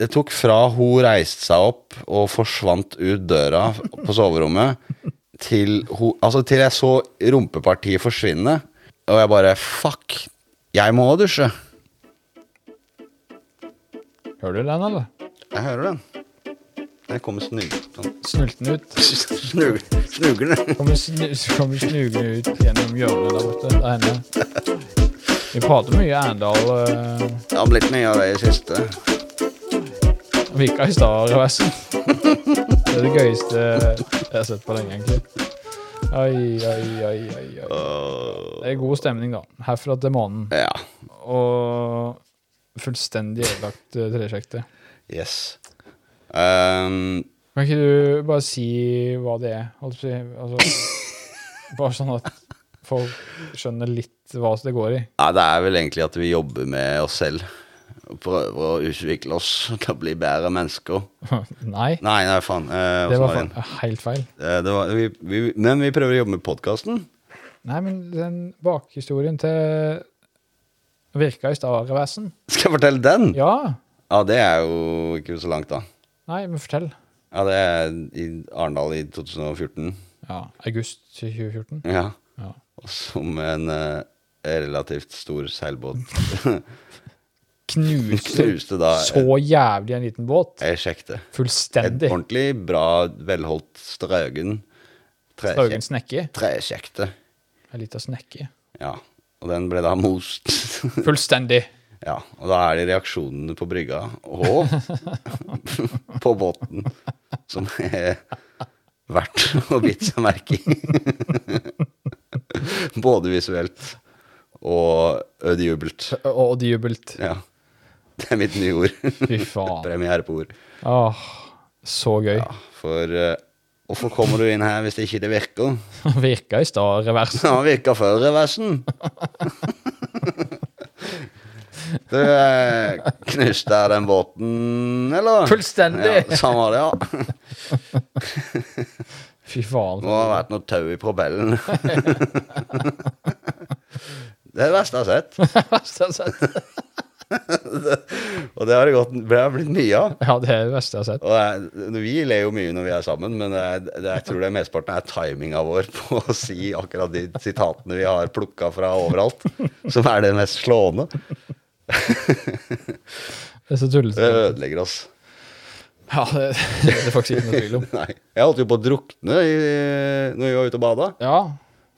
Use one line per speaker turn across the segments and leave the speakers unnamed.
Det tok fra hun reiste seg opp og forsvant ut døra på soverommet, til, hun, altså til jeg så rumpepartiet forsvinne, og jeg bare Fuck, jeg må også dusje.
Hører du den, eller?
Jeg hører den. Der kommer snuglene.
Snulten ut.
Snuglene.
Kommer, snu, kommer snugende ut gjennom hjørnet der borte. Der henne. Vi prater mye Arendal. eh,
Det har blitt mye av det i siste.
Uh, Vika i Stad-reversen. Det er det gøyeste jeg har sett på lenge, egentlig. Oi, oi, oi, oi, oi.
Øh,
Det er god stemning, da. Herfra til månen.
ja.
Og fullstendig ødelagt eh, tresjekte.
Yes. Ehm,
Kan ikke du bare si hva det er? Holdt på å si, altså, bare sånn at folk skjønner litt hva det går i.
Nei, det er vel egentlig at vi jobber med oss selv. Og prøver å utvikle oss til å bli bedre mennesker.
Nei,
Nei, nei, faen. eh,
det
hvordan
var
var det?
fa- helt feil.
Eh, det var, vi, vi, men vi prøver å jobbe med podkasten.
Nei, men den bakhistorien til Virka i Stad-reversen.
Skal jeg fortelle den? Ja.
Ja.
det er jo ikke så langt, da.
Nei, men fortell.
Ja, det er i Arendal i 2014.
Ja, August 2014.
Ja.
Ja.
Og som en eh, relativt stor seilbåt
Knuste
knuste da
så jævlig en liten båt.
ei sjekte. Et
Fullstendig.
ordentlig bra, velholdt Straugen. Trekje-
Dagens snekke.
Tresjekte.
En liten snekke.
Ja. Og den ble da most.
Fullstendig.
ja. Og da er det reaksjonene på brygga og på båten som er verdt å bite seg merke i. Både visuelt og ødejubelt.
Og de jubelt.
Ja. Det er mitt nye ord.
Fy faen.
Premiere på ord.
Åh, så gøy.
Ja, for eh, hvorfor kommer du inn her hvis det ikke det virker?
Virka i stad revers.
Det har virka før reversen. Du eh, knuste den båten, eller?
Fullstendig.
Ja, sånn var det, ja.
Fy faen.
Det må ha vært noe tau i propellen. Det er det verste jeg har sett.
verste jeg har sett.
Og det har det, gått, det har blitt mye av.
Ja, det er det verste jeg har sett.
Og det er- vi ler jo mye når vi er sammen, men eh, det er, det, jeg tror det er mesteparten er timinga vår på å si akkurat de sitatene vi har plukka fra overalt, som er det mest slående.
Det er så
Det
tullete.
ødelegger oss.
Ja, det, det er det faktisk ikke noe tvil om.
Nei. Jeg holdt jo på å drukne i, når vi var ute og bada,
Ja,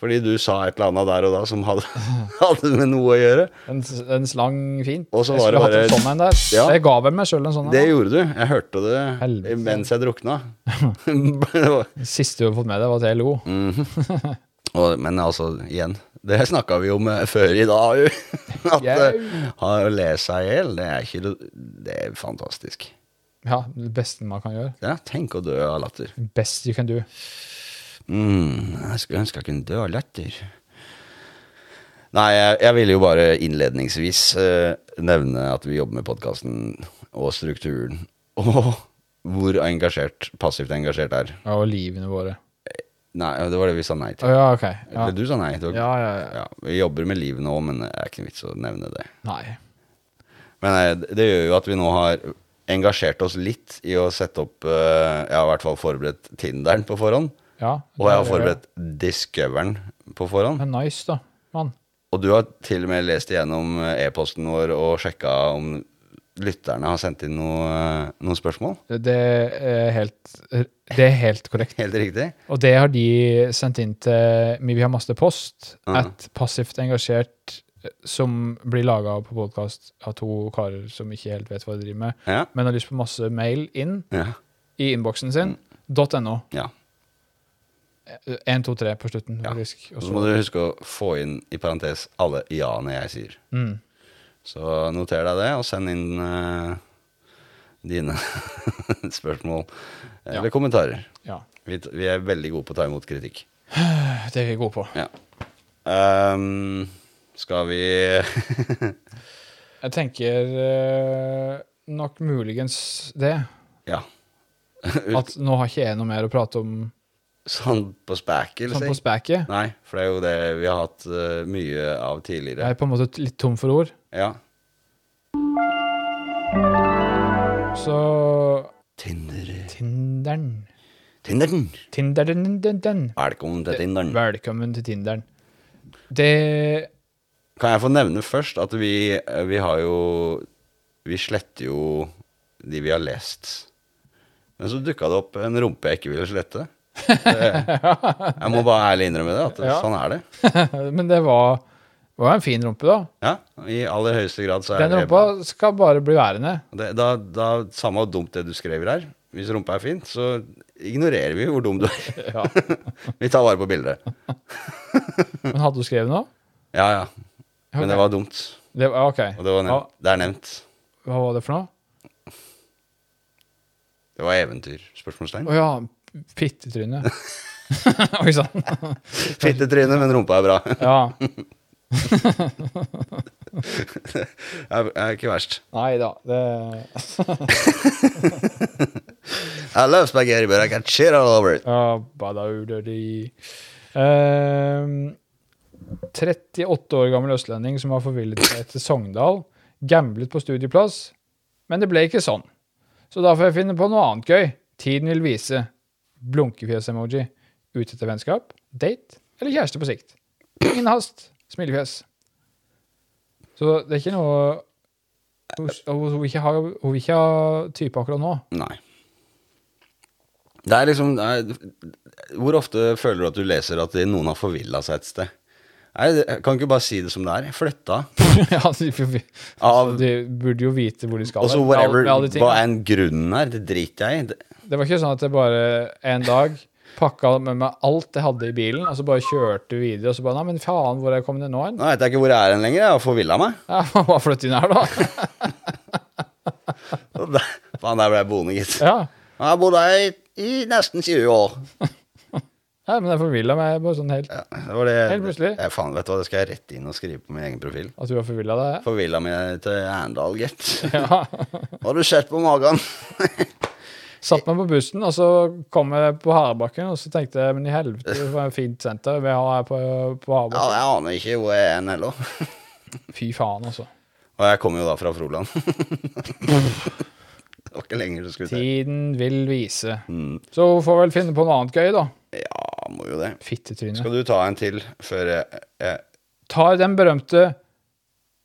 fordi du sa et eller annet der og da som hadde, hadde med noe å gjøre.
en, en slang fint.
Og så
Jeg
var det
skulle hatt en
bare-
sånn en der.
Ja.
Jeg ga vel meg sjøl en sånn
Det
en.
gjorde du. Jeg hørte det
Helvete.
mens jeg drukna. Det var-
da. Siste du har fått med deg, var at jeg lo.
Mm. og, men altså, igjen, det snakka vi om eh, før i dag jo. At
Jau.
eh, ha- å le seg i hjel, det er ikke noe- Det er fantastisk.
Ja, det beste man kan gjøre.
Ja, tenk å dø av latter.
Best you can do.
Mm, jeg skulle ønske jeg kunne dø av latter. Nei, jeg, jeg ville jo bare innledningsvis eh, nevne at vi jobber med podkasten og strukturen. Og hvor engasjert, passivt engasjert er.
Ja, og livene våre.
Nei, det var det vi sa nei
Å
til.
ja, OK. Ja.
Eller du sa nei. Det var,
ja, ja, ja.
Ja, vi jobber med livet nå, men det er ikke noe vits å nevne det.
Nei.
Men eh, det- det gjør jo at vi nå har engasjert oss litt i å sette opp eh, Jeg har i hvert fall forberedt Tinderen på forhånd.
Ja,
Og jeg har
det er det.
forberedt Discoveren på forhånd.
Men nice, da, mann.
Og du har til og med lest igjennom eh, e-posten vår og sjekka om lytterne har sendt inn noe, eh, noen spørsmål?
Det- Det er helt, det er helt korrekt.
Helt riktig?
Og det har de sendt inn til Vi har masse post.
Ja.
Et passivt engasjert eh, som blir laga på podkast av to karer som ikke helt vet hva de driver med,
Ja.
men har lyst på masse mail inn
Ja.
i innboksen sin. .no.
ja.
1, 2, 3 på slutten,
Ja.
faktisk. Og
Og så
så-
må dere huske å få inn i parentes alle ja-ene jeg sier.
Mm.
Så noter deg det, og send inn eh, dine spørsmål eh,
Ja.
eller kommentarer.
Ja.
Vi, t- vi er veldig gode på å ta imot kritikk.
Det er vi gode på.
Ja. Ehm, skal vi
Jeg tenker eh, nok muligens det.
Ja.
At nå har ikke jeg noe mer å prate om
Sånn på spæket,
sånn
liksom?
på spæket.
Nei, for det er jo det vi har hatt eh, mye av tidligere.
Jeg er på en måte litt tom for ord.
Ja.
Så
Tinder
Tinderen.
Tinderen!
Tinderen, den, den.
Velkommen
Eh,
til Tinderen.
Velkommen til Tinderen. Det
Kan jeg få nevne først at vi, eh, vi har jo Vi sletter jo de vi har lest. Men så dukka det opp en rumpe jeg ikke ville slette. Det, jeg må bare ærlig innrømme det. At
Ja.
Sånn er det.
Men det var, det var en fin rumpe, da.
Ja, I aller høyeste grad så er
Den
det
rumpa skal bare bli værende.
det, da, da, Samme hvor dumt det du skriver her. Hvis rumpa er fint, så ignorerer vi hvor dum du er.
Ja.
Vi tar vare på bildet.
Men hadde du skrevet noe?
Ja, ja. Men det var dumt.
Det var, ok.
Og det, var
Hva,
nevnt. det er nevnt.
hva var det for noe?
Det var eventyr? Spørsmålstegn.
Å ja, pittetryne. Oi sann.
Fittetryne, men rumpa er bra.
Ja.
er, er ikke verst.
Nei da. Det
I love spaghetti, but I got shit all over it.
ja, badaudadi. Ehm, 38 år gammel østlending som har forvillet seg til Sogndal. Gamblet på studieplass, men det ble ikke sånn. Så da får jeg finne på noe annet gøy. Tiden vil vise. Blunkefjes-emoji. Ute etter vennskap, date eller kjæreste på sikt. Ingen hast. Smilefjes. Så det er ikke noe Hun hun vil ikke ha, hun vil ikke ha type akkurat nå.
Nei. Det er liksom det er, Hvor ofte føler du at du leser at noen har forvilla seg et sted? Nei, det- jeg kan ikke bare si det som det er. Jeg Flytta.
ja, de,
Av-
de burde jo vite hvor de skal.
Og så
med alle-
whatever
med alle ting.
Hva enn grunnen er, det driter jeg i. Det-
Det var ikke sånn at jeg bare en dag pakka med meg alt jeg hadde i bilen, og så bare kjørte videre, og så bare Nei, men faen, hvor er jeg kommet ned nå hen?
Nå vet jeg ikke hvor jeg er hen lenger. Jeg har forvilla meg.
Ja, bare flytt inn her, da.
Og da- Faen, der ble jeg boende, gitt. Jeg
Ja.
har bodd her i, i nesten 20 år.
ja men jeg forvilla meg bare sånn helt
Ja, det var det.
Helt plutselig.
Ja, faen, vet du hva, det skal jeg rett inn og skrive på min egen profil.
At du var forvilla deg.
Forvilla meg til Arendal, gitt.
Ja.
Har du sett på magen?
Satt meg på bussen, og så kom jeg på Harebakken, og så tenkte jeg men i helvete, det var et fint senter vi har her på, på
Ja,
Harebakken.
jeg aner ikke hvor jeg er hen heller.
Fy faen, altså.
Og jeg kommer jo da fra Froland. det var ikke lenger du skulle til.
Tiden vil vise.
Mm.
Så hun får vel finne på noe annet gøy, da.
Ja, må jo det.
Fittetryne.
Skal du ta en til før jeg, jeg
Tar den berømte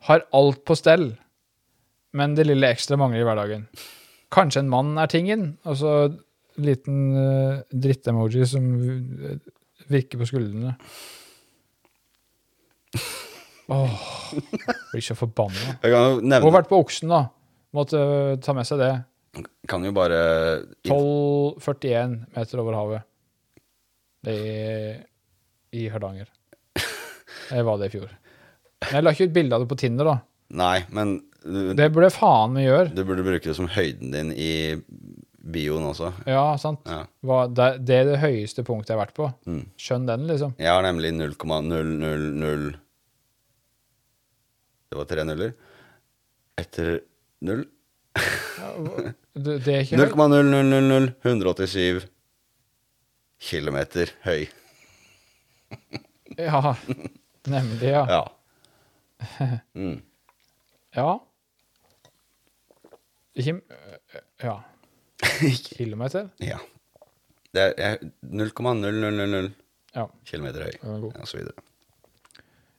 'har alt på stell', men det lille ekstra mangler i hverdagen. Kanskje en mann er tingen, og så en liten eh, dritt-emoji som eh, virker på skuldrene. Åh, blir så forbanna.
Jeg kan jo
Hun har
nevne
vært på Oksen, da. Måtte eh, ta med seg det.
Kan jo bare
12,41 meter over havet. Det er i Hardanger. Det var det i fjor. Men jeg la ikke ut bilde av det på Tinder, da.
Nei, men du,
Det burde faen meg gjøre.
du burde bruke det som høyden din i bioen også.
Ja, sant.
Ja.
Hva- Det det er det høyeste punktet jeg har vært på.
Mm.
Skjønn den, liksom.
Jeg har nemlig 0,000 Det var tre nuller. Etter null.
Det, det er ikke høyt.
0,0000187 kilometer høy.
Ja, nemlig, ja.
Ja.
Ja. Ikke Ja. Kilometer?
ja. Det er jeg- 0,0000
Ja.
kilometer høy,
Den er god.
og så videre.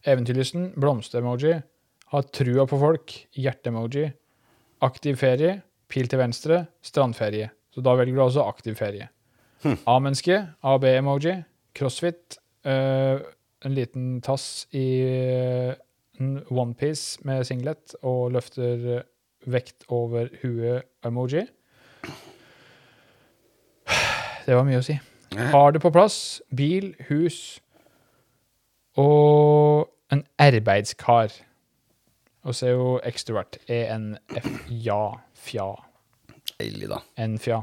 Eventyrlysten, blomster-emoji, ha trua på folk, hjerte-emoji, aktiv ferie, pil til venstre, strandferie. Så da velger du altså aktiv ferie. A-menneske, AB-emoji, crossfit, øh, en liten tass i øh, en onepiece med singlet og løfter øh, vekt over huet-emoji. Det var mye å si. Har det på plass, bil, hus, og en arbeidskar. Og så er jo ekstrovert. ENFJA. Fja.
Deilig, da.
Enfja.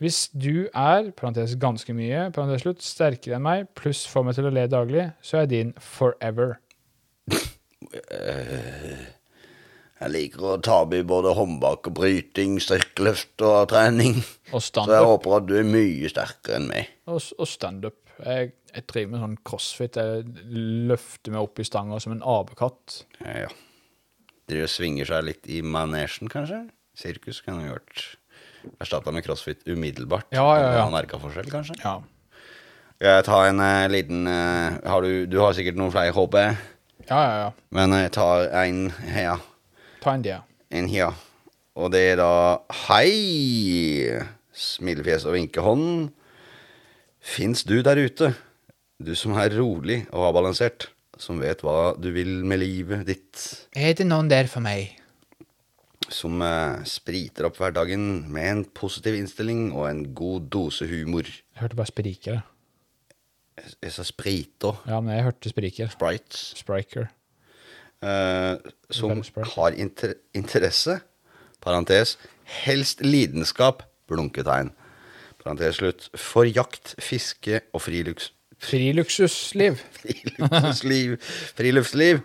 Hvis du er parentes ganske mye, parentes slutt, sterkere enn meg, pluss får meg til å le daglig, så er din forever.
Eh, Jeg liker å ta med både håndbak og bryting, styrkeløft og trening.
Og
Så jeg
standup.
håper at du er mye sterkere enn meg.
Og, s- og standup. Jeg, jeg driver med sånn crossfit. Jeg løfter meg opp i stanga som en apekatt.
Ja. Driver og svinger seg litt i manesjen, kanskje? Sirkus kunne vi gjort. Erstatta med crossfit umiddelbart.
Ja, ja, ja.
Om man merket forskjell, kanskje.
Ja.
Skal jeg ta en eh, liten eh, har du, du har sikkert noen flere, håper jeg.
Ja, ja, ja.
Men jeg tar en her.
Ta en D.
En her. Og det er da Hei! Smilefjes og vinkehånd. Fins du der ute, du som er rolig og avbalansert, som vet hva du vil med livet ditt,
Er det noen der for meg?
som eh, spriter opp hverdagen med en positiv innstilling og en god dose humor.
Jeg hørte bare sprikere.
Jeg jeg sa spriter.
Ja, men jeg hørte spriker.
Sprites.
Spriker.
eh, som
Veldig sprøtt.
har inter interesse, parentes, helst lidenskap, blunketegn, parentes slutt, for jakt, fiske og frilufts
Friluksusliv.
friluftsliv, friluftsliv.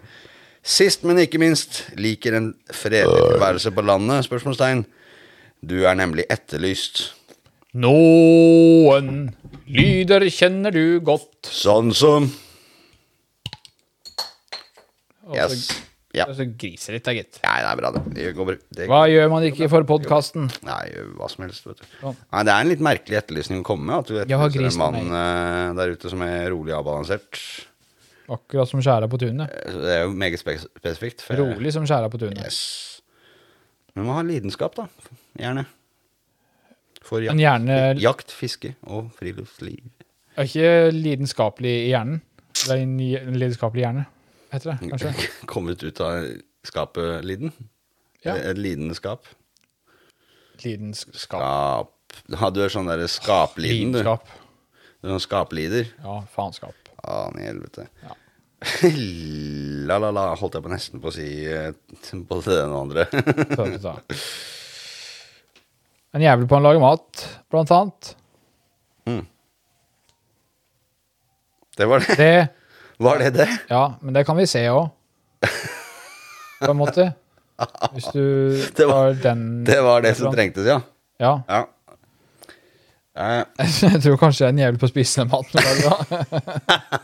Sist, men ikke minst, liker en fredelig tilværelse på landet, spørsmålstegn. Du er nemlig etterlyst.
Noen lyder kjenner du godt.
Sånn som
Og så-
Yes. Ja.
Og så griser litt, da, gitt.
Nei, det er bra, det. Det går bra. Det
altså- Hva gjør man ikke for podkasten?
Nei, hva som helst, vet du.
Sånn.
Nei, det er en litt merkelig etterlysning å komme med. At du
Jeg har
etterlyser en
grisen
mann eh, der ute som er rolig og avbalansert.
Akkurat som skjæra på tunet.
Eh, Det er jo meget spe spesifikt. for-
Rolig som skjæra på tunet.
Yes. Men man har lidenskap, da. Gjerne. For
Men
jakt,
gjerne
jakt fiske og friluftsliv.
er ikke lidenskapelig i hjernen. Det er en i- en lidenskapelig hjerne, heter det
Mm.
kanskje.
Kommet ut av skapet liden.
Ja.
Et lidenskap.
Lidenskap.
Skap. Ja, du er sånn derre skapliden, du.
Lidenskap.
Du er sånn skaplider.
Ja, faenskap.
Faen i helvete.
Ja.
la, la, la, holdt jeg på nesten på å si eh, både det ene og det andre.
Så det sa. En jævel på å lage mat, blant annet.
det var det.
Det
Var det det?
Ja, men det kan vi se òg. På en måte. Hvis du
Det var-
tar den
Det var det som trengtes, ja.
Ja.
ja. Eh,
Jeg tror kanskje det er en jævel på å spise den maten. eller hva?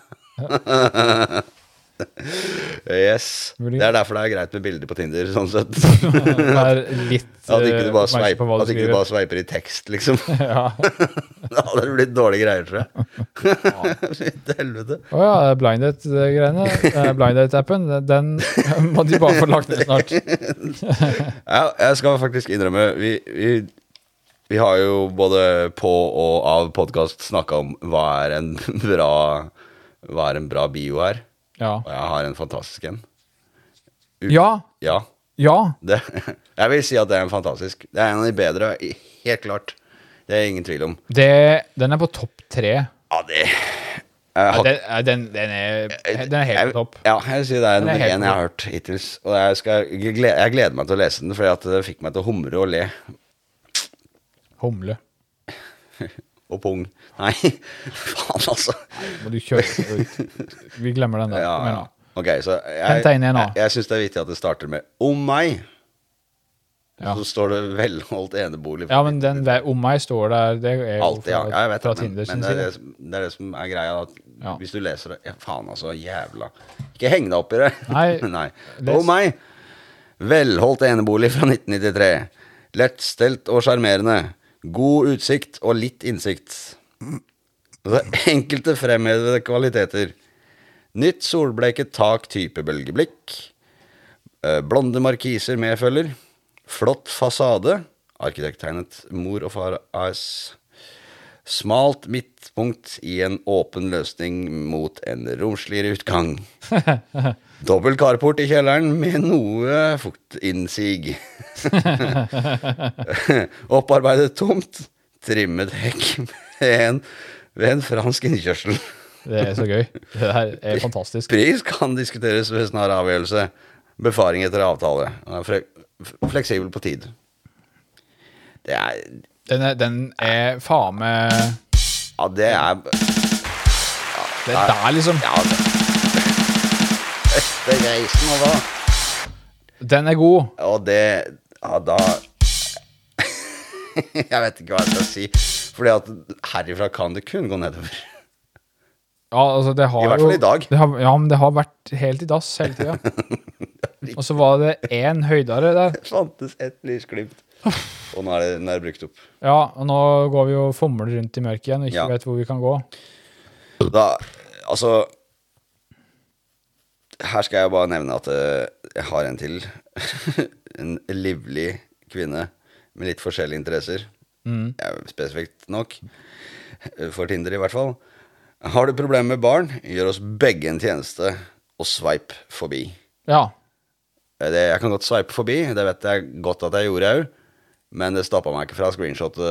yes.
Mulig.
Det er derfor det er greit med bilder på Tinder, sånn sett.
Det er litt
At ikke du
eh,
bare,
oppmerksom
sveip,
på hva
at ikke du
skriver.
bare sveiper i tekst, liksom.
ja.
Da hadde det blitt dårlige greier, tror jeg. Til helvete.
Å ja, det er blind date-greiene. Eh, Blind date-appen, den må de bare få lagt ned snart.
Ja, jeg skal faktisk innrømme Vi, vi, vi har jo både på og av podkast snakka om hva er en bra Hva er en bra bio her.
Ja.
Og jeg har en fantastisk en.
Ja.
Ja.
Ja.
Det, jeg vil si at det er en fantastisk. Det er en av de bedre, i- helt klart. Det er ingen tvil om.
Det, den er på topp tre.
Ja, det jeg har-
Den, eh, den, den, er, den er helt
jeg-
på topp.
Ja, jeg vil si det er nummer
er helt
én jeg har hørt hittils. Og jeg, skal, jeg gleder, jeg gleder meg til å lese den, for det fikk meg til å humre og le.
Humle.
Og pung. Nei, faen, altså.
Må du kjøre ut. Vi glemmer den der.
Ja,
Kom igjen,
ja.
da.
Ok, så jeg,
Hent deg inn igjen
jeg,
nå.
jeg syns det er viktig at det starter med 'om meg'.
Ja.
Så står det 'velholdt enebolig'.
Ja, men den ve- om meg står der Det er jo
Alltid, ja.
fra-
ja jeg vet
fra
det, men, men
Tinder sin
det, er
side.
det, som, det er det som er greia. At
Ja.
Hvis du leser det ja, Faen, altså. Jævla. Ikke heng deg opp i det.
Nei, les.
Oh, meg. Velholdt enebolig fra 1993. Lettstelt og sjarmerende. God utsikt og litt innsikt. Altså, enkelte fremhevede kvaliteter. Nytt solbleket tak type bølgeblikk. Eh, Blonde markiser medfølger. Flott fasade. Arkitekttegnet Mor og Far AS. Smalt midtpunkt i en åpen løsning mot en romsligere utgang. Dobbel carport i kjelleren med noe fuktinnsig. Opparbeidet tomt. Trimmet hekk med en, ved en fransk innkjørsel.
Det er så gøy. Det der er fantastisk.
Pris kan diskuteres ved snar avgjørelse. Befaring etter avtale. Han er fle fleksibel på tid. Det er
Den er, den er faen meg
Ja, det er
Det er der, liksom.
Ja, det Etter reisen og hva?
Den er god.
Og det Ja, da Jeg vet ikke hva jeg skal si. Fordi at herifra kan det kun gå nedover.
Ja, altså, det
I
har
hvert
jo-
fall i dag.
Det har, ja, men det har vært helt i dass hele tida. Og så var det én høydere der.
Det fantes et lysglimt. Og nå er det, nå er det brukt opp.
Ja, og nå går vi og fomler rundt i mørket igjen og ikke
Ja.
vet hvor vi kan gå.
Da, altså Her skal jeg bare nevne at eh, jeg har en til. en livlig kvinne med litt forskjellige interesser.
Mm.
Ja, spesifikt nok. Eh, For Tinder, i hvert fall. Har du problemer med barn, gjør oss begge en tjeneste og sveip forbi.
Ja.
Eh, Det, jeg kan godt sveipe forbi, det vet jeg godt at jeg gjorde òg. Men det stoppa meg ikke fra å screenshotte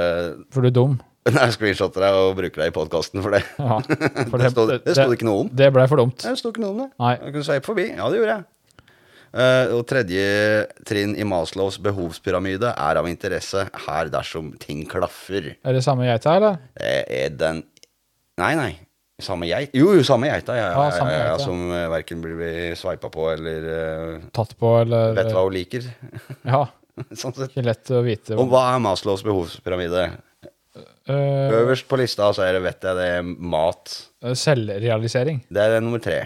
For du er dum.
Nei, screenshotte deg og bruke deg i podkasten for det.
Ja, for
det, stod, det sto det ikke noe om.
Det blei for dumt.
Nei, Det sto ikke noe om det.
Nei.
Jeg kunne sveipe forbi. Ja, det gjorde jeg. Eh, og tredje trinn i Maslows behovspyramide er av interesse her dersom ting klaffer.
Er det samme geita, eller?
Eh, er den Nei, nei. Samme geit? Jo, jo, samme geita. Ja, ja,
Ja,
ja,
samme
ja, ja,
geita.
som uh, verken blir sveipa på eller eh,
Tatt på, eller
vet hva hun liker.
Ja.
sånn sett.
Ikke lett å vite.
Og hva er Maslows behovspyramide?
Eh,
Øverst på lista så er det, vet jeg, det er mat.
selvrealisering.
Det er nummer tre.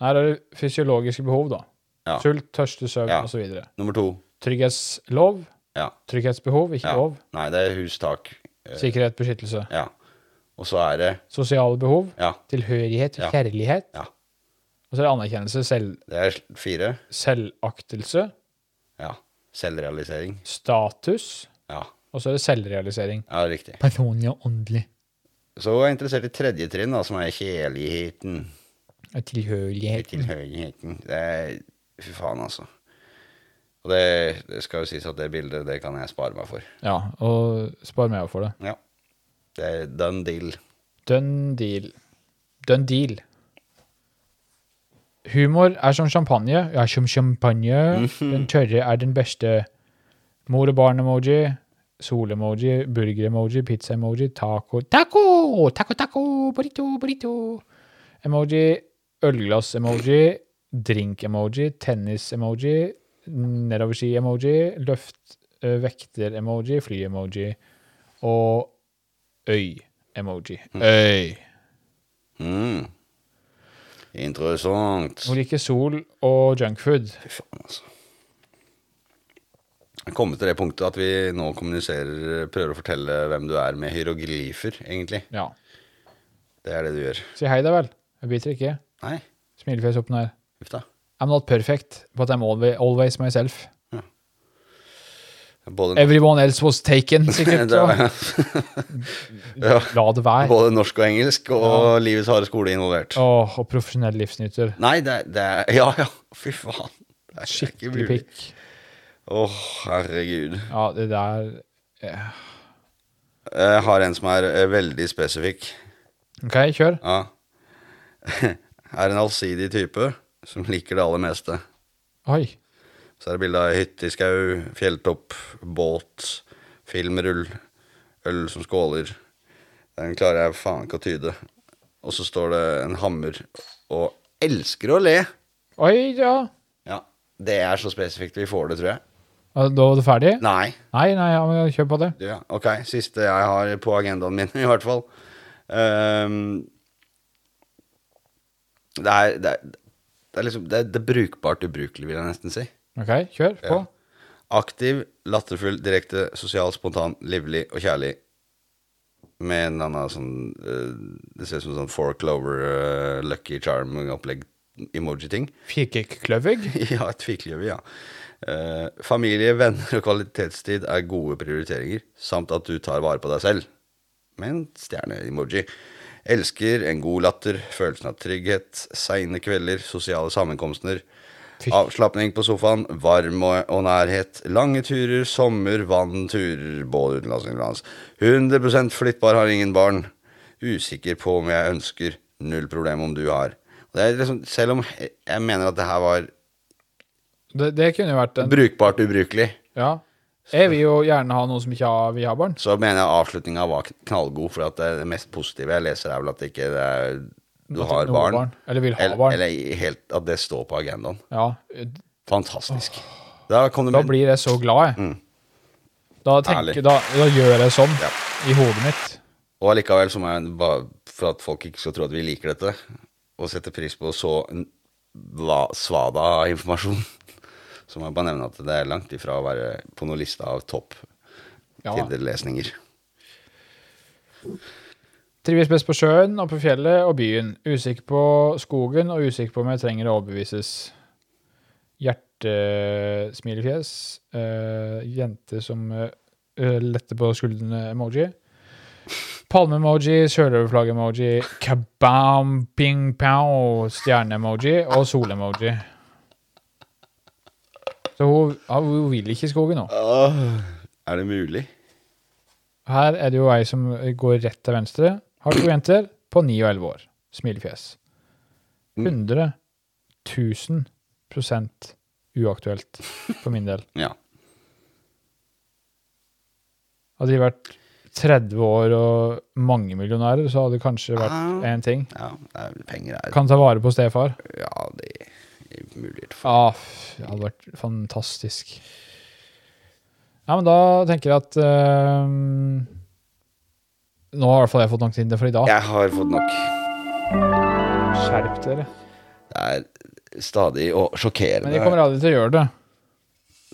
Her er det fysiologiske behov, da.
Ja.
Sult, tørste, søvn
Ja.
og osv.
Nummer to.
Trygghetslov.
Ja.
Trygghetsbehov, ikke
ja.
lov.
Nei, det er hus, tak. eh,
Sikkerhet, beskyttelse.
Ja. Og så er det
Sosiale behov.
Ja.
Tilhørighet,
Ja.
kjærlighet.
Ja.
Og så er det anerkjennelse, selv,
Det er fire.
selvaktelse,
Ja. Selvrealisering.
status.
Ja.
Og så er det selvrealisering.
ja, riktig.
Personlig og åndelig.
Så er jeg interessert i tredje trinn, da, som er kjærligheten.
Tilhørighet.
Tilhørigheten. Det er Fy faen, altså. Og det, det skal jo sies at det bildet, det kan jeg spare meg for.
Ja, og spar meg for det.
Ja. Det er done deal.
Done deal. Done deal. Humor er som champagne. Ja, som champagne. Den tørre er den beste. Mor og barn-emoji. Sol-emoji. Burger-emoji. Pizza-emoji. Taco. Taco! Taco, taco! Burrito, burrito! Emoji. Ølglass-emoji. Drink-emoji. Tennis-emoji. Nedoverski-emoji. Løft eh, vekter-emoji. Fly-emoji. Og øy-emoji. Øy.
Mm. Interessant.
Hun liker sol og junkfood.
Fy faen, altså. Jeg kommer til det punktet at vi nå kommuniserer, prøver å fortelle hvem du er med hieroglyfer, egentlig.
Ja.
Det er det du gjør.
Si hei, da vel. Jeg biter ikke.
Nei,
Smilefjes opp ned.
uff da.
I'm not perfect, but I'm always, always myself.
Både,
Everyone else was taken, sikkert.
det
Så.
var- ja,
La det være.
både norsk og engelsk, og livets harde skole involvert.
Åh, og profesjonell livsnyter.
Nei, det, det er Ja, ja, fy faen. Det er ikke
Skikkelig
mulig.
pikk.
Å, herregud.
Ja, det der eh.
Jeg har en som er eh, veldig spesifikk.
OK, kjør.
Ja. Er en allsidig type som liker det aller meste.
Oi.
Så er det bilde av hytte i skau, fjelltopp, båt, filmrull, øl som skåler. Den klarer jeg faen ikke å tyde. Og så står det en hammer og elsker å le.
Oi, ja.
Ja, Det er så spesifikt vi får det, tror jeg.
Ah, Da var du ferdig?
Nei.
Nei, nei, ja, men kjør på det.
Du, ja. Ok, siste jeg har på agendaen min, i hvert fall. Ehm, det, er, det, er, det er liksom Det er, det er brukbart ubrukelig, vil jeg nesten si.
OK, kjør på.
Aktiv, latterfull, direkte, sosial, spontan, livlig og kjærlig. Med en annen sånn eh, Det ser ut som sånn four clover, eh, lucky charm-opplegg, emoji-ting.
Firkekløvig.
ja, tvikløve, ja. Eh, familie, venner og kvalitetstid er gode prioriteringer, samt at du tar vare på deg selv. Med en stjerne-emoji. Elsker en god latter, følelsen av trygghet, seine kvelder, sosiale sammenkomster.
Fy.
Avslapning på sofaen, varm og, og nærhet, lange turer, sommer, vann, turer, både utenlands og innenlands. 100 flyttbar, har ingen barn. Usikker på om jeg ønsker. Null problem om du har. Det er liksom, selv om jeg mener at det her var
Det, det kunne jo vært en
brukbart ubrukelig,
Ja. Jeg vil jo gjerne ha noen som ikke har, vil ha barn.
så mener jeg avslutninga var knallgod, for at det, det mest positive jeg leser, er vel at det ikke det er, du
At
har
noen
barn.
Eller vil ha
Eller,
barn.
eller i helt, at det står på agendaen.
Ja,
Fantastisk. Da kom det
Da
med-
blir jeg så glad, jeg.
Mm.
Da,
Ærlig.
tenker, da, da gjør jeg sånn
Ja.
i hodet mitt.
Og allikevel, så må jeg bare for at folk ikke skal tro at vi liker dette, og setter pris på så en la- svada av informasjon, Så må jeg bare nevne at det er langt ifra å være på noen liste av topp
Ja.
Tinder-lesninger.
Trives best på sjøen og på fjellet og byen. Usikker på skogen og usikker på om jeg trenger å overbevises. Hjertesmilefjes. Uh, jente som eh, eh, letter på skuldrene-emoji. Palme-emoji, søløverflagg-emoji, kabam, ping-pow, stjerne-emoji og sol-emoji. Så hun, ja, hun vil ikke i skogen nå.
Åh, er det mulig?
Her er det jo ei som går rett til venstre. Har to jenter på 9 og 11 år. Smilefjes. 100 000 prosent uaktuelt for min del.
Ja.
Hadde de vært 30 år og mange millionærer, så hadde det kanskje vært
Ah.
én ting.
ja det er, penger er
Kan ta vare på stefar.
Ja, det er muligheter for
Ah, f- det hadde vært fantastisk. Ja, men da tenker jeg at ehm, Nå har i hvert fall jeg fått nok Tinder for i dag.
Jeg har fått nok.
Skjerp dere.
Det er stadig å sjokkerende.
Men de kommer aldri til å gjøre det.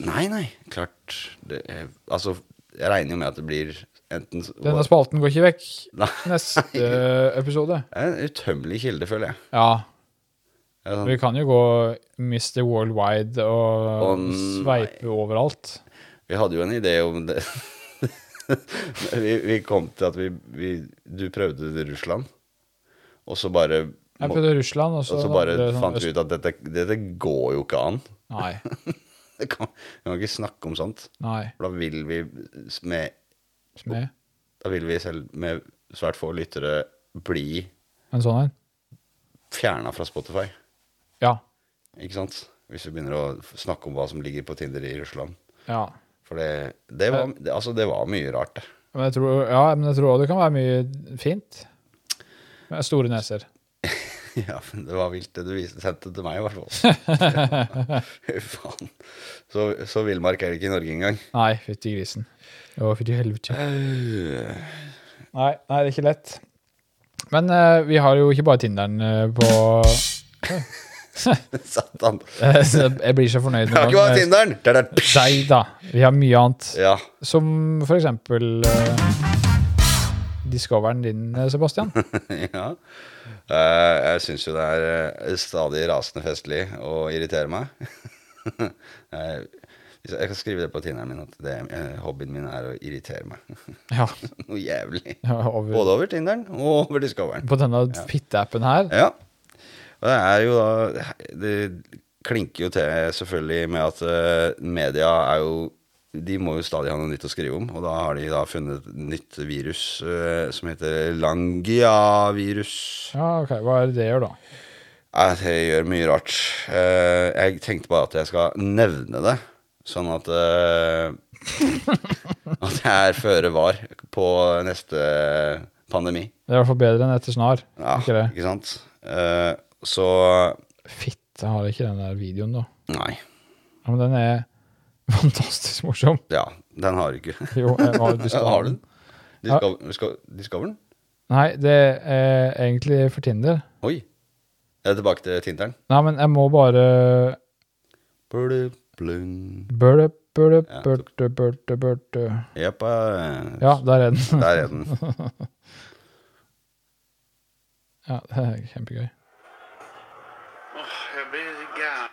Nei, nei, klart. Det er, altså, jeg regner jo med at det blir enten
Denne spalten går ikke vekk.
Nei.
Neste episode.
Det er En utømmelig kilde, føler jeg.
Ja.
Det er
Vi
sånn,
kan jo gå Mr. Worldwide og
Å, nei.
sveipe overalt.
vi hadde jo en idé om det vi, vi kom til at vi, vi Du prøvde det i Russland, og så bare
Jeg
må-
prøvde Russland, og så,
Og så bare
ble det sånn
fant vi
øst-
ut at dette, dette går jo ikke an.
Nei.
Det kan, vi kan ikke snakke om sånt.
nei.
For da vil vi med,
Smed.
Da vil vi selv med svært få lyttere bli
En sånn en?
fjerna fra Spotify.
Ja.
Ikke sant? Hvis vi begynner å f- snakke om hva som ligger på Tinder i Russland.
ja.
For det, det, var, det, altså det var mye rart, det.
Men jeg tror, ja, men jeg tror også det kan være mye fint. Med store neser.
Ja, men det var vilt det du viste, sendte til meg, i hvert fall. Fy faen. Så, så villmark er det ikke i Norge engang.
Nei, fytti grisen. Å, fytti helvete.
Øh,
Nei, nei, det er ikke lett. Men eh, vi har jo ikke bare Tinderen eh, på
Satan.
Eh, så Jeg blir så fornøyd eh,
Det er ikke bare Tinderen! Det er der.
Nei da. Vi har mye annet.
Ja.
Som for eksempel eh, discoveren din, eh, Sebastian.
ja. Eh, jeg syns jo det er eh, stadig rasende festlig å irritere meg. Eh, hvis jeg jeg kan skrive det på Tinderen min at det, eh, hobbyen min er å irritere meg.
Ja,
Noe jævlig.
over,
Både over Tinderen og over Discoveren.
på denne fitteappen her.
Ja. Og det er jo da Det klinker jo til selvfølgelig med at eh, media er jo De må jo stadig ha noe nytt å skrive om, og da har de da funnet et nytt virus eh, som heter Langia-virus.
Ja, ok. Hva er det det gjør, da?
Nei, Det gjør mye rart. Eh, Jeg tenkte bare at jeg skal nevne det, sånn at eh, At jeg er føre var på neste pandemi.
Det er i hvert fall bedre enn etter snar.
Ja,
Ikke det?
ikke sant? Eh, Så
Fitte har ikke den der videoen, da.
Nei.
Ja, men den er fantastisk morsom.
Ja, den har du ikke.
Jo, jeg har,
Har du den?
Ja.
Discover- Disco- Discoveren?
Nei, det er egentlig for Tinder.
Oi. Jeg er tilbake til Tinteren.
Nei, men jeg må bare
Blu, blun.
Burde, burde,
Ja, tok-
burde, burde, burde.
Jeppa.
Ja, der er den.
eh. Der er den.
Ja, det er kjempegøy.
Åh, jeg blir gæren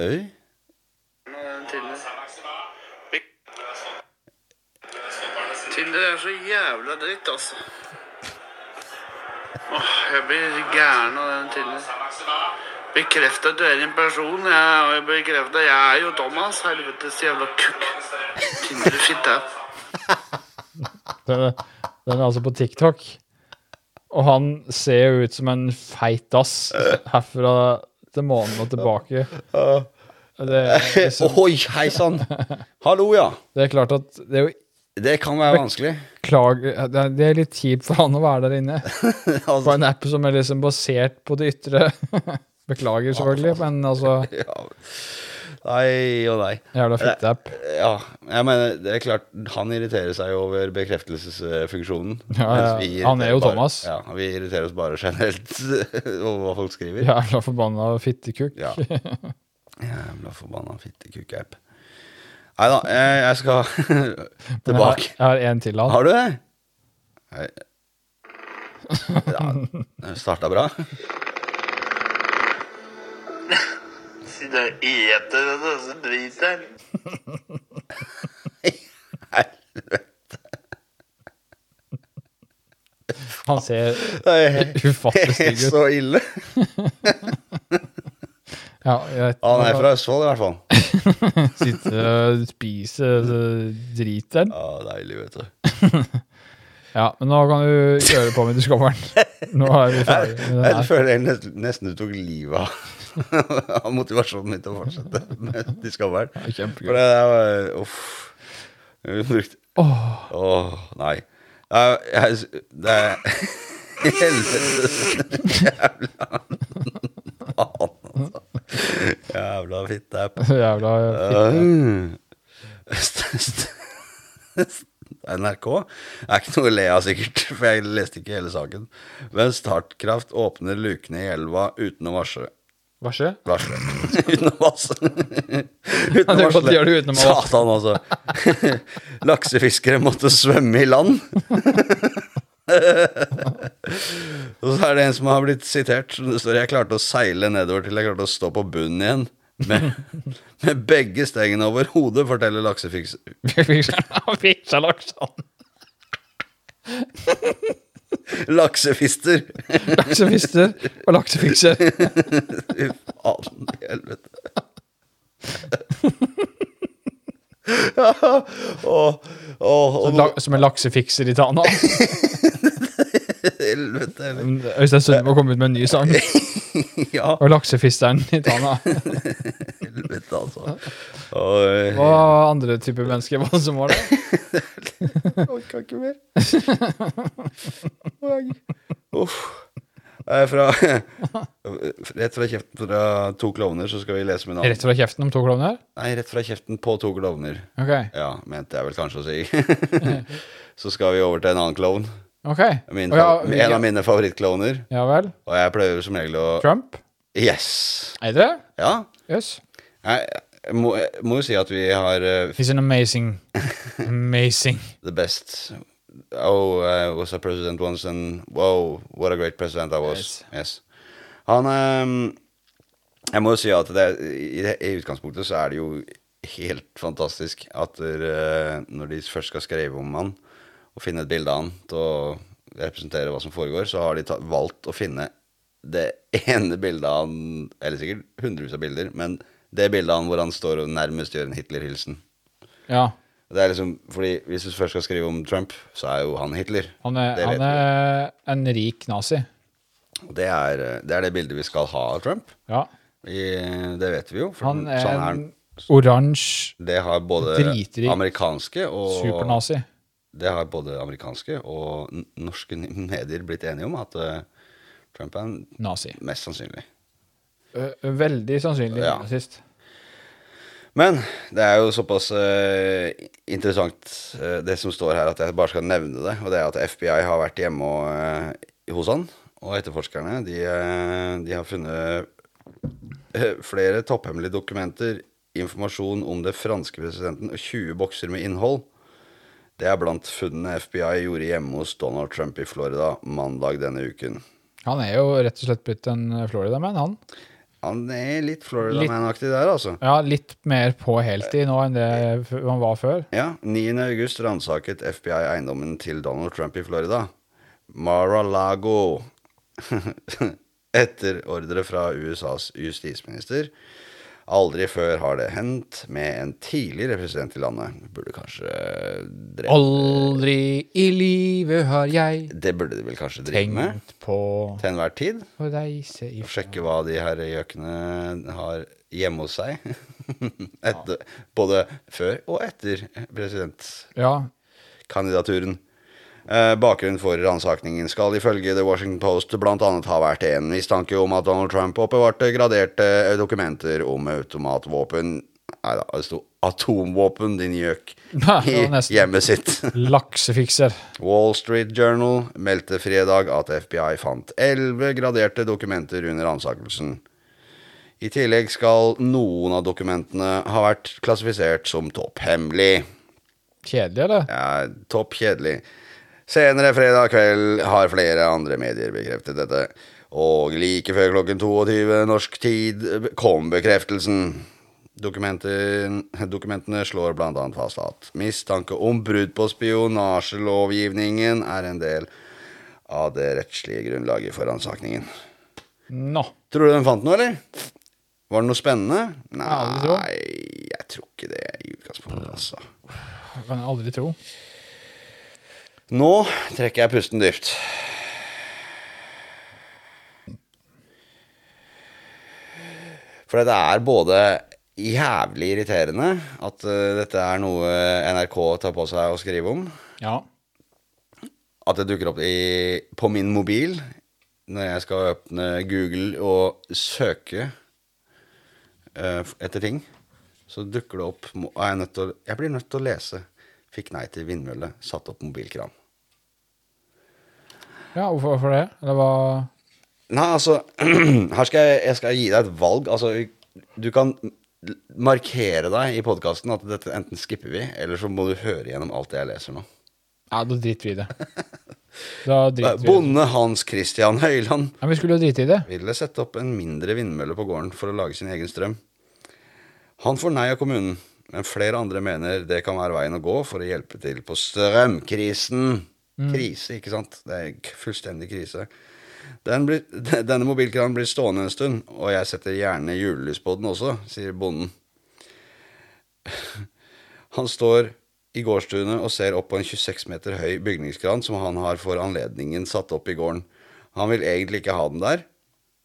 Øy.
av den Tinder. Tinder er så jævla dritt, altså. Åh, jeg blir gæren av den Tinder. Bekreft at du er en person, jeg, og jeg bekrefter at jeg er jo Thomas. Helvetes jævla kukk. Tinder-fitte.
Den er, den er altså på TikTok. Og han ser jo ut som en feit dass herfra til månen og tilbake. Det, liksom-
Oi, hei sann! Hallo, ja.
det er klart at det er jo
Det kan være vanskelig.
klag... Det er- det er litt kjipt for han å være der inne på
Altså,
en app som er liksom basert på det ytre. Beklager, selvfølgelig, men altså
ja. Nei og nei.
Jævla fitteapp.
Ja, jeg mener, det er klart, han irriterer seg jo over bekreftelsesfunksjonen.
Ja, ja.
mens vi irriterer
Han er jo
bare-
Thomas.
Ja, vi irriterer oss bare generelt over hva folk skriver.
Jævla forbanna fittekukk.
Ja. Jævla forbanna fittekukk-app. Nei da, jeg, jeg skal
Men jeg har-
tilbake.
Jeg har en til han.
Har du det? Nei. Ja, den starta bra.
Sitter og eter og så driter han.
Han ser
Det er
ufattelig stygg ut.
så ille.
Ja, jeg vet
Han er fra Østfold, i hvert fall.
Sitte og spise så driter den.
Ja, Deilig, vet du.
Ja, men nå kan du kjøre på med diskoveren. Nå er vi ferdig med den
Jeg
her.
føler jeg nesten, nesten du tok livet av- av motivasjonen min til å fortsette med Discovery.
Ja, kjempegøy.
For det der var Uff. Vi brukte-
Åh,
Åh, nei. Jeg, jeg, det er Helvetes jævla faen, altså. Jævla fitteapp.
jævla fitte.
Øh. St- st- st- NRK er ikke noe å le av, sikkert, for jeg leste ikke hele saken. Men Startkraft åpner lukene i elva uten å varsle.
Hva skjer?
Varsle. Uten å varsle. Uten
Ja, det er godt de gjør det uten å varsle.
Satan, altså. Laksefiskere måtte svømme i land. Og så er det en som har blitt sitert. som Det står 'Jeg klarte å seile nedover til jeg klarte å stå på bunnen igjen'. Med, med begge stengene over hodet, forteller laksefiks...
Fisjalaksen.
laksefister.
Laksefister og laksefikser.
Fy faen i helvete. og, og, og,
La- Som en laksefikser i Tana.
helvete, eller?
Øystein Sunde må komme ut med en ny sang.
Ja,
Og laksefisteren i Tana.
helvete, altså. Og, eh,
Hva andre typer mennesker var det som var det?
Jeg orker ikke mer. Jeg- Uff. Jeg er fra Rett fra kjeften fra to klovner, så skal vi lese med navn.
Rett fra kjeften om to klovner?
Nei, rett fra kjeften på to klovner.
Ok.
Ja, mente jeg vel kanskje å si. så skal vi over til en annen klovn.
ok.
Min,
Å ja,
fa- en av mine favorittklovner.
Ja vel.
Og jeg pleier som regel å
Trump?
Yes!
Er det?
Ja.
Yes.
Jeg, jeg, må, jeg må jo si at vi har eh,
He's an amazing, amazing
the best. Oh, I was a president once, and wow, what a great president I was. Yes. Han ehm, Jeg må jo si at det, i, det- i utgangspunktet så er det jo helt fantastisk at eh, når de først skal skrive om han og finne et bilde av han til å representere hva som foregår, så har de ta, valgt å finne det ene bildet av han Eller sikkert hundrevis av bilder, men det bildet av han hvor han står og nærmest gjør en Hitler-hilsen.
Ja.
Det er liksom, fordi Hvis du først skal skrive om Trump, så er jo han Hitler.
Han er,
det, vet
han er en rik nazi.
vi. Og det, er, eh, det er det bildet vi skal ha av Trump.
Ja.
I, det vet vi jo. For
Han er
sånn er
en
han.
oransje
Det har både
Dritrik.
amerikanske og
supernazi.
Det har både amerikanske og n- norske n- medier blitt enige om, at eh, Trump er en-
Nazi.
mest sannsynlig.
Ø- Veldig sannsynlig
Ja.
nazist.
Men det er jo såpass eh, interessant eh, det som står her, at jeg bare skal nevne det. Og det er at FBI har vært hjemme og, eh, hos han, og etterforskerne de, eh, de har funnet eh, flere topphemmelige dokumenter, informasjon om det franske presidenten og 20 bokser med innhold. Det er blant funnene FBI gjorde hjemme hos Donald Trump i Florida mandag denne uken.
Han er jo rett og slett blitt en Florida-man, han.
Han er litt Florida-man-aktig der, altså.
Ja, litt mer på heltid nå enn det f- han var før.
Ja, 9. august ransaket FBI eiendommen til Donald Trump i Florida. Mar-a-Lago. Etter ordre fra USAs justisminister. Aldri før har det hendt med en tidligere president i landet. Burde kanskje drepe
Aldri i livet har jeg
Det burde de vel kanskje drive med?
tenkt på
Til enhver tid.
å reise i
Og sjekke hva de her gjøkene har hjemme hos seg. Etter, både før og etter president
Ja,
kandidaturen. Eh, Bakgrunnen for ransakingen skal ifølge The Washington Post bl.a. ha vært en mistanke om at Donald Trump oppbevarte graderte eh, dokumenter om automatvåpen Nei da, det sto 'Atomvåpen, din gjøk' i
Ja, nesten.
hjemmet sitt.
Laksefikser.
Wall Street Journal meldte fredag at FBI fant elleve graderte dokumenter under ansakelsen. I tillegg skal noen av dokumentene ha vært klassifisert som topphemmelig.
Kjedelig, eller?
Ja, topp kjedelig. Senere fredag kveld har flere andre medier bekreftet dette. Og like før klokken 22 norsk tid kom bekreftelsen. Dokumenter, dokumentene slår bl.a. fast at mistanke om brudd på spionasjelovgivningen er en del av det rettslige grunnlaget for ransakingen.
Nå.
Tror du den fant noe, eller? Var det noe spennende?
Aldri tro.
Nei, jeg tror ikke det i utgangspunktet, altså.
Kan jeg aldri tro.
Nå trekker jeg pusten dypt. For det er både jævlig irriterende at eh, dette er noe NRK tar på seg å skrive om.
Ja.
At det dukker opp i, på min mobil når jeg skal åpne Google og søke eh, f- etter ting. Så dukker det opp mo- er jeg, nødt til å, jeg blir nødt til å lese. Fikk nei til vindmølle. Satt opp mobilkran.
ja hvorfor, hvorfor det? Eller hva
Nei, altså Her skal jeg, jeg skal gi deg et valg. Altså, du kan markere deg i podkasten at dette enten skipper vi, eller så må du høre gjennom alt det jeg leser nå.
Ja, da driter vi i det. Da driter vi i det.
Bonde Hans Christian Høiland
Ja, vi skulle jo drite i det.
ville sette opp en mindre vindmølle på gården for å lage sin egen strøm. Han får nei av kommunen, men flere andre mener det kan være veien å gå for å hjelpe til på strømkrisen. Krise, ikke sant? Det er k- fullstendig krise. Den blir, de- denne mobilkranen blir stående en stund, og jeg setter gjerne julelys på den også, sier bonden. Han står i gårdstunet og ser opp på en 26 meter høy bygningskran som han har for anledningen satt opp i gården. Han vil egentlig ikke ha den der,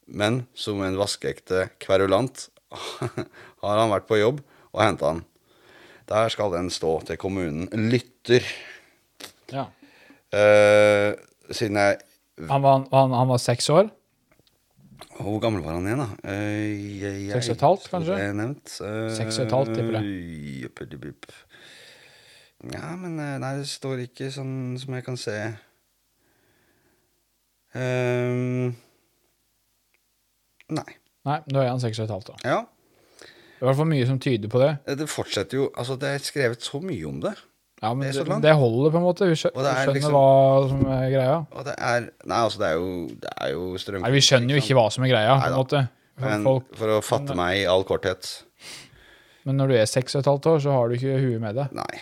men som en vaskeekte kverulant har han vært på jobb og henta den. Der skal den stå til kommunen lytter.
Ja.
Eh, siden jeg
Han var, han, han var seks år.
Hvor gammel var han igjen, da? Eh, jeg, jeg,
Seks og et halvt, kanskje?
Det er nevnt. Eh,
Seks og et halvt, tipper jeg.
jupp, jupp, jupp. Ja, men eh, nei, det står ikke sånn som jeg kan se. Eh, nei.
Nei, nå er han seks og et halvt. da.
Ja.
Det er i hvert fall mye som tyder på det.
Det fortsetter jo Altså, det er skrevet så mye om det.
Ja, men
Det er
det,
så langt.
det holder, på en måte. Vi skjø-
Og det er
skjønner
liksom-
hva som er greia.
Og det er Nei, altså, det er jo, det er jo strøm...
Nei, vi skjønner jo ikke hva som er greia, på en måte. For
Men
folk.
for å fatte meg i all korthet
Men når du er seks og et halvt år, så har du ikke huet med deg.
Nei.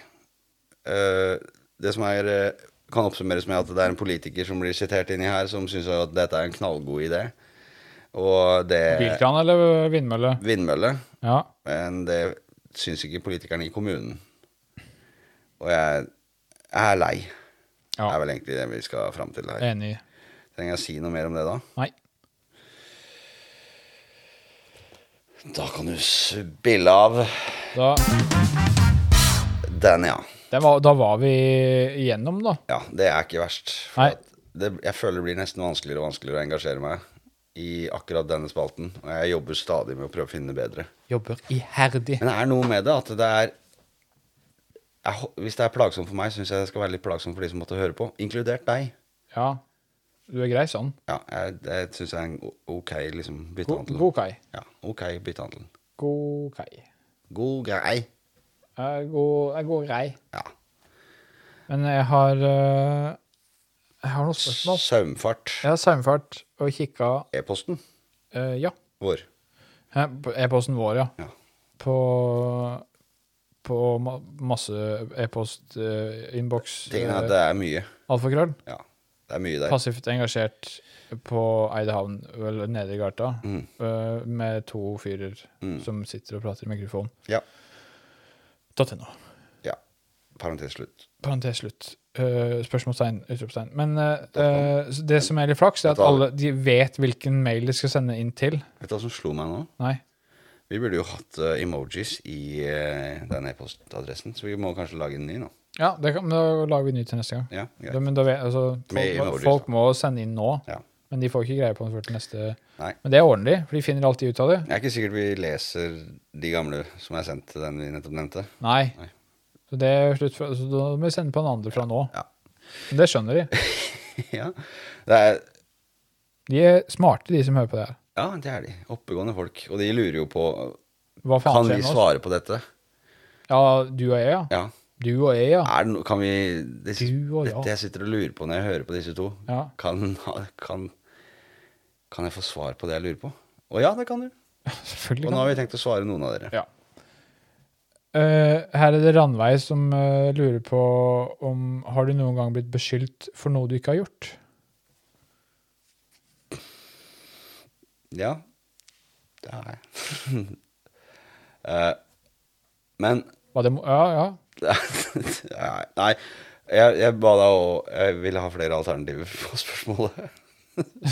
Eh, det som er eh, kan oppsummeres med at det er en politiker som blir sitert inni her, som syns at dette er en knallgod idé. Og det
Bilkran eller vindmølle?
Vindmølle.
Ja.
Men det syns ikke politikerne i kommunen. Og jeg, jeg er lei.
ja.
er vel egentlig det vi skal fram til her.
Enig.
Trenger jeg si noe mer om det da?
Nei.
Da kan du spille av
Da,
den, ja.
det var, da var vi igjennom, da.
Ja, det er ikke verst. For
Nei.
at Det, jeg føler det blir nesten vanskeligere og vanskeligere å engasjere meg i akkurat denne spalten. Og jeg jobber stadig med å prøve å finne bedre.
Jobber iherdig.
Men det er noe med det at det er jeg, hå- Hvis det er plagsomt for meg, syns jeg det skal være litt plagsomt for de som måtte høre på, inkludert deg.
Ja. Du er grei sånn.
Ja, jeg, det syns jeg er en o- ok liksom,
God,
byttehandel.
god kai.
Ja, ok byttehandel.
God kai.
God grei.
Jeg går, jeg går grei.
Ja.
Men jeg har øh, Jeg har noen spørsmål.
Saumfart.
Jeg har saumfart og kikka
E-posten
øh, Ja.
vår.
Eh, på E-posten vår, ja.
Ja.
På, på ma- masse e-post, eh, innboks,
Tingen er at
eh,
det er mye.
alfakrøll.
Ja, det er mye der.
Passivt engasjert på Eidehavn, vel nede i gata,
Mm.
eh, med to fyrer
Mm.
som sitter og prater i mikrofon.
Ja.
.no.
ja. Parentes slutt.
Parentes slutt. Eh, spørsmålstegn, utropstegn. Men eh, eh, så det som er litt flaks, det er at
Dette-
alle de vet hvilken mail de skal sende inn til.
Vet du hva som slo meg nå?
Nei.
Vi burde jo hatt eh, emojis i eh, den e-postadressen, så vi må kanskje lage en ny nå.
Ja, det kan, men da lager vi ny til neste gang.
Ja,
Da,
greit.
men da vet, altså,
Med
folk, må,
emojis,
folk
da.
må sende inn nå.
Ja.
Men Men de får ikke greie på den før til neste
Nei.
Men det ordner de, for de finner alltid ut av det.
Jeg er ikke sikkert vi leser de gamle som er sendt til den vi nettopp nevnte.
Nei.
Nei.
Så det er slutt fra, så da må vi sende på en andre fra nå.
Ja.
Men det skjønner de.
ja. Det er,
De er smarte, de som hører på det her.
ja, det er de. Oppegående folk. Og de lurer jo på
Hva faen
Kan
skjer
vi
med oss?
svare på dette.
Ja, du og jeg, ja.
Ja.
Du og jeg, ja.
Er det no, kan vi det,
Du og ja.
Dette jeg sitter og lurer på når jeg hører på disse to.
ja.
Kan, kan, kan jeg få svar på det jeg lurer på? Å ja, det kan du.
Selvfølgelig
Og
kan
nå har vi tenkt å svare noen av dere.
Ja. Eh, her er det Randveig som eh, lurer på om har du noen gang blitt beskyldt for noe du ikke har gjort.
Ja, det har jeg. Eh, men
Var det, mo- ja, ja.
Nei, jeg, jeg ba deg å Jeg ville ha flere alternativer på spørsmålet.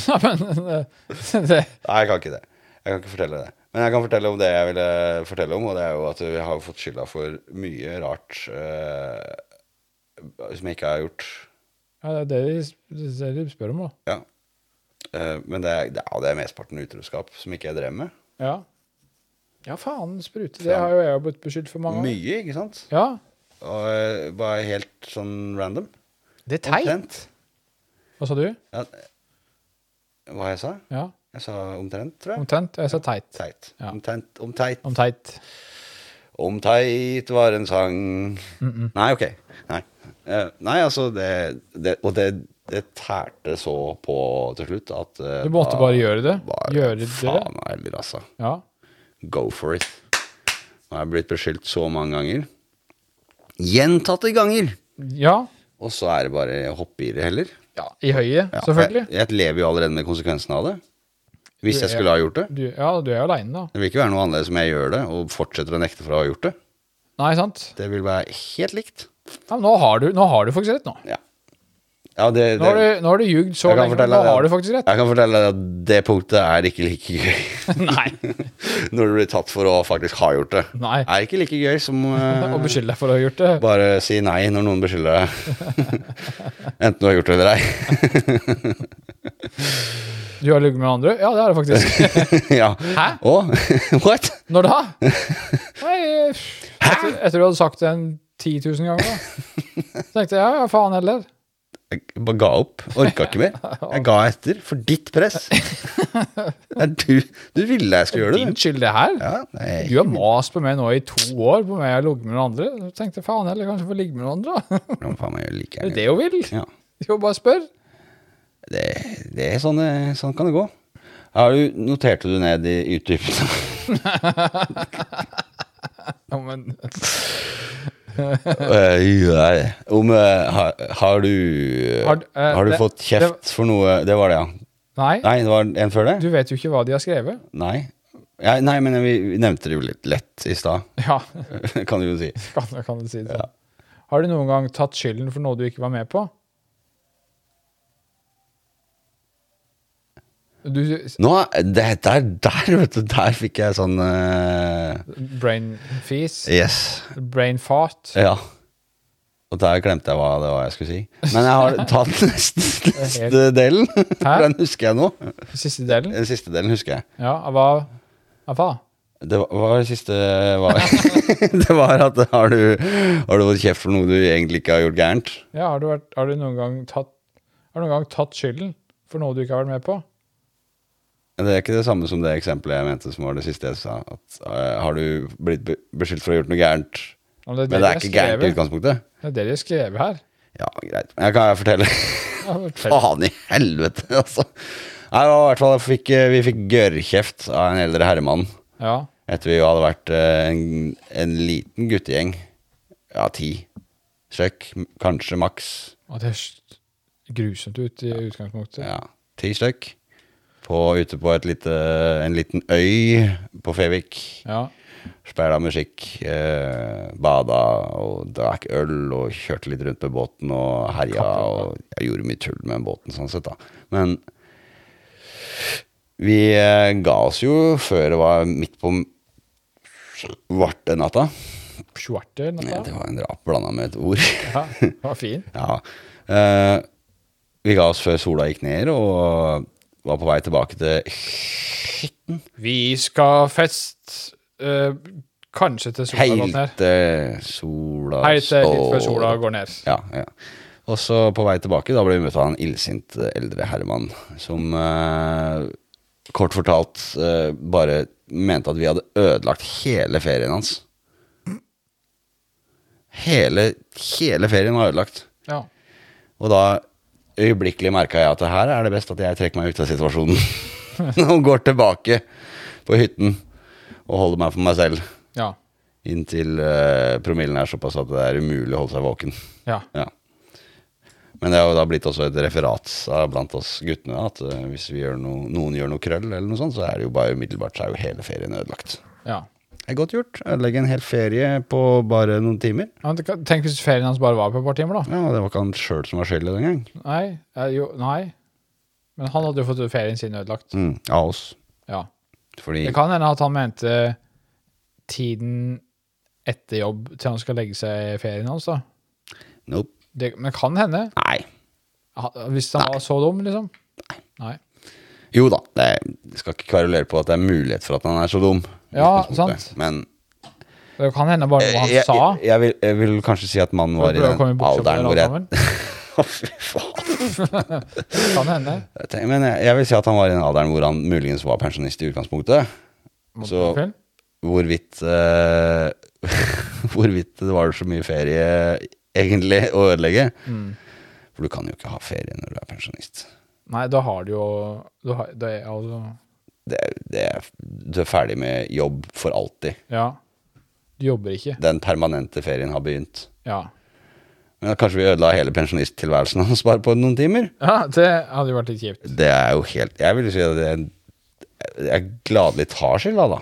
Ja, men eh, det,
Nei, jeg kan ikke det. Jeg kan ikke fortelle det. Men jeg kan fortelle om det jeg ville fortelle om, og det er jo at jeg har fått skylda for mye rart eh, som jeg ikke har gjort.
ja, det er det de sp- det er det de spør om, da.
Ja. Eh, men det er, det er- ja, det er mesteparten utroskap som ikke jeg drev med.
Ja, ja faen sprute. Det har jo jeg blitt beskyldt for mange ganger.
Mye, ikke sant?
Ja,
Og eh, bare helt sånn random.
det er
Omtrent.
Hva sa du?
Ja, eh, hva jeg sa?
Ja,
Jeg sa omtrent, tror jeg.
Omtrent? Jeg sa teit.
Teit.
Ja.
Omtrent, om teit.
Om teit.
Om teit var en sang Nei, ok. Nei, Eh, nei altså det, det Og det, det tærte så på til slutt at eh,
Du måtte
da
bare gjøre det.
var jeg
Gjøre det.
Faen heller, altså.
Ja.
Go for it. Nå har jeg blitt beskyldt så mange ganger. Gjentatte ganger!
ja.
Og så er det bare å hoppe i det heller.
Ja, I høyet,
Ja,
selvfølgelig.
Jeg, jeg lever jo allerede med konsekvensene av det. Hvis
Du
jeg
er-
skulle ha gjort det.
Du, ja, du er jo aleine, da.
Det vil ikke være noe annerledes om jeg gjør det og fortsetter å nekte for å ha gjort det.
Nei, sant?
Det vil være helt likt.
Ja, men nå har du, nå har du faktisk rett nå.
Ja, ja det,
Nå har
det,
du, nå har du ljugd så
Jeg kan
lenge, men
fortelle
nå
deg at-
har du faktisk rett.
Jeg kan fortelle deg at det punktet er ikke like gøy
Nei.
når du blir tatt for å faktisk ha gjort det.
Nei.
Det er ikke like gøy som eh,
Og beskylde deg for å ha gjort det.
bare si nei når noen beskylder deg. Enten du har gjort det eller ei.
Du har ligget med noen andre? Ja, det har jeg faktisk.
ja.
Hæ?
Å? What?
Når da? Nei, jeg, etter, etter du hadde sagt det en 10 000 ganger, da. Så tenkte jeg ja, ja, faen heller.
Jeg bare ga opp. Orka ikke mer. Jeg ga etter for ditt press. Det er du, du ville jeg skulle gjøre det.
Din
du.
skyld, det her.
Ja, nei.
Du har mast på meg nå i to år på om jeg har ligget med noen andre. Så tenkte jeg faen heller, kanskje jeg får ligge med noen andre. da.
Hvordan faen meg gjør like
Det er
gjerne.
det hun vil.
Ja.
Jo, bare spør.
Det, det er sånn, det- sånn kan det gå. Har du, noterte du ned i utdypene?
Ja, men
Eh, ja. Om eh, har, har du Har,
Har du- eh,
du
det-
fått kjeft for noe Det var det, ja.
nei,
Nei, det var en før det?
du vet jo ikke hva de har skrevet.
Nei. Ja, nei, men vi, vi nevnte det jo litt lett i stad,
Ja,
kan du jo si.
kan, kan du si det sånn. Har du noen gang tatt skylden for noe du ikke var med på? Du,
Nå, det, der, der, vet du, der fikk jeg sånn eh,
brain fis,
Yes.
brain fart.
Ja. Og der glemte jeg hva det var jeg skulle si. Men jeg har tatt neste, neste delen.
Hæ?
For den husker jeg nå.
Siste delen.
Den siste delen husker jeg.
Ja, hva? Ja, hva?
Det var, hva var det siste var? Det var at har du, har du fått kjeft for noe du egentlig ikke har gjort gærent?
Ja, har du, vært, har du noen gang tatt har du noen gang tatt skylden for noe du ikke har vært med på?
Det er ikke det samme som det eksempelet jeg mente som var det siste jeg sa. At, eh, har du blitt be- beskyldt for å ha gjort noe gærent?
Ja,
Men det er
de
ikke gærent i
skrevet.
utgangspunktet?
Det er det de har skrevet her.
Ja, greit. Men jeg kan jeg fortelle.
Ja, fortell.
Faen i helvete, altså. Nei, det var i hvert fall, jeg fikk, eh, vi fikk gørrkjeft av en eldre herremann
ja.
etter vi hadde vært eh, en, en liten guttegjeng. Ja, ti stykk, m- kanskje maks.
Og det høres grusomt ut i utgangspunktet.
Ja, ti stykk. På, ute på et lite, en liten øy på Fevik.
Ja.
Spela musikk, eh, bada og drakk øl og kjørte litt rundt med båten og herja. Og jeg gjorde mye tull med båten, sånn sett, da. Men vi eh, ga oss jo før det var midt på m- svarte natta.
Svarte
Ja,
natta.
det var en drap blanda med et ord.
Ja, det var fin.
Ja. Eh, vi ga oss før sola gikk ned, og var på vei tilbake til
Vi skal fest eh, Kanskje til sola går ned.
helt til sola
Helt til litt før
står
sola
opp.
går ned.
Ja, ja. Og så på vei tilbake, da ble vi møtt av en illsint eh, eldre herremann som eh, kort fortalt eh, bare mente at vi hadde ødelagt hele ferien hans. Hele, hele ferien var ødelagt.
Ja.
Og da øyeblikkelig merka jeg at det her er det best at jeg trekker meg ut av situasjonen. Og går tilbake på hytten og holder meg for meg selv.
Ja.
Inntil eh, promillen er såpass at det er umulig å holde seg våken.
ja.
Ja. Men det har jo da blitt også et referat av blant oss guttene da, at eh, hvis vi gjør noe, noen gjør noe krøll, eller noe sånt, så er det jo bare umiddelbart så er jo hele ferien ødelagt.
ja.
Det er godt gjort. Ødelegge en hel ferie på bare noen timer.
Men det kan- Tenk hvis ferien hans bare var på et par timer, da.
Ja, Det var ikke han sjøl som var skyld i den gang.
Nei. eh, Jo, nei. Men han hadde jo fått ferien sin ødelagt.
Mm, av oss.
Ja.
Fordi
Det kan hende at han mente tiden etter jobb til han skal legge seg i ferien hans, da.
Nope.
Det, men det kan hende.
Nei.
Ha- Hvis han var så dum, liksom. Nei.
Jo da, det jeg skal ikke kverulere på at det er mulighet for at han er så dum. i
Ja,
utgangspunktet.
sant.
Men
Det kan hende bare noe han
Eh, jeg,
sa.
jeg, jeg, vil, jeg vil kanskje si at mannen var
for å
i
prøve å
den
komme bort fra
alderen hvor
alt
jeg
sammen.
Å, Fy faen.
Det kan hende.
Jeg tenker- Men jeg, jeg vil si at han var i den alderen hvor han muligens var pensjonist i utgangspunktet. Så-
Unnskyld?
Hvorvidt eh, Hvorvidt det var så mye ferie egentlig å ødelegge.
Mm.
For du kan jo ikke ha ferie når du er pensjonist.
Nei, da har du jo da har, da er, altså,
Det, er- det er, du er ferdig med jobb for alltid.
Ja. Du jobber ikke.
Den permanente ferien har begynt.
Ja.
Men da kanskje vi ødela hele pensjonisttilværelsen hans bare på noen timer?
ja. Det hadde jo vært litt kjipt.
Det er jo helt Jeg vil si at det er, jeg gladelig tar skylda, da.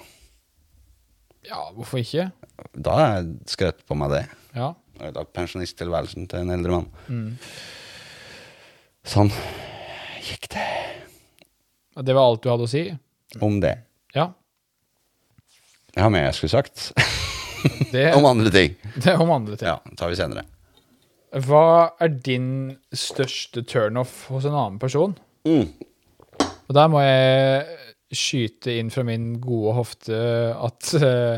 Ja, hvorfor ikke?
Da er jeg skrøt på meg det.
Ja.
ødelagt pensjonisttilværelsen til en eldre mann. Sånn gikk det
Det var alt du hadde å si?
om det.
Ja.
Jeg har mer jeg skulle sagt
Det,
om andre ting.
det om andre ting.
Ja, tar vi senere.
Hva er din største turnoff hos en annen person?
Mm.
Og der må jeg skyte inn fra min gode hofte at eh,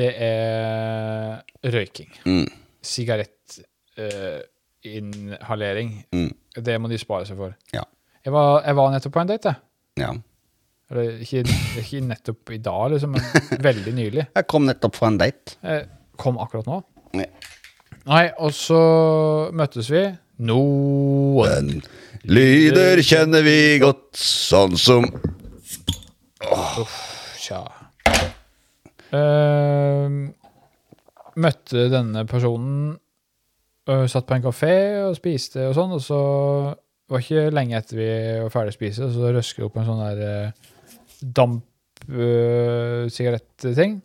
det er røyking.
Mm.
Sigarettinhalering.
Mm.
Det må de spare seg for.
Ja.
Jeg var, jeg var nettopp på en date, jeg.
ja.
Eller ikke, ikke nettopp i dag, liksom, men veldig nylig.
Jeg kom nettopp fra en date.
Jeg kom akkurat nå.
Ja.
Nei, og så møttes vi. Noen
Den lyder kjenner vi godt, sånn som
Tja. Ehm, møtte denne personen, ø, satt på en kafé og spiste og sånn, og så var ikke lenge etter vi var ferdig å spise, så røsket det opp en sånn der damp-sigaretting.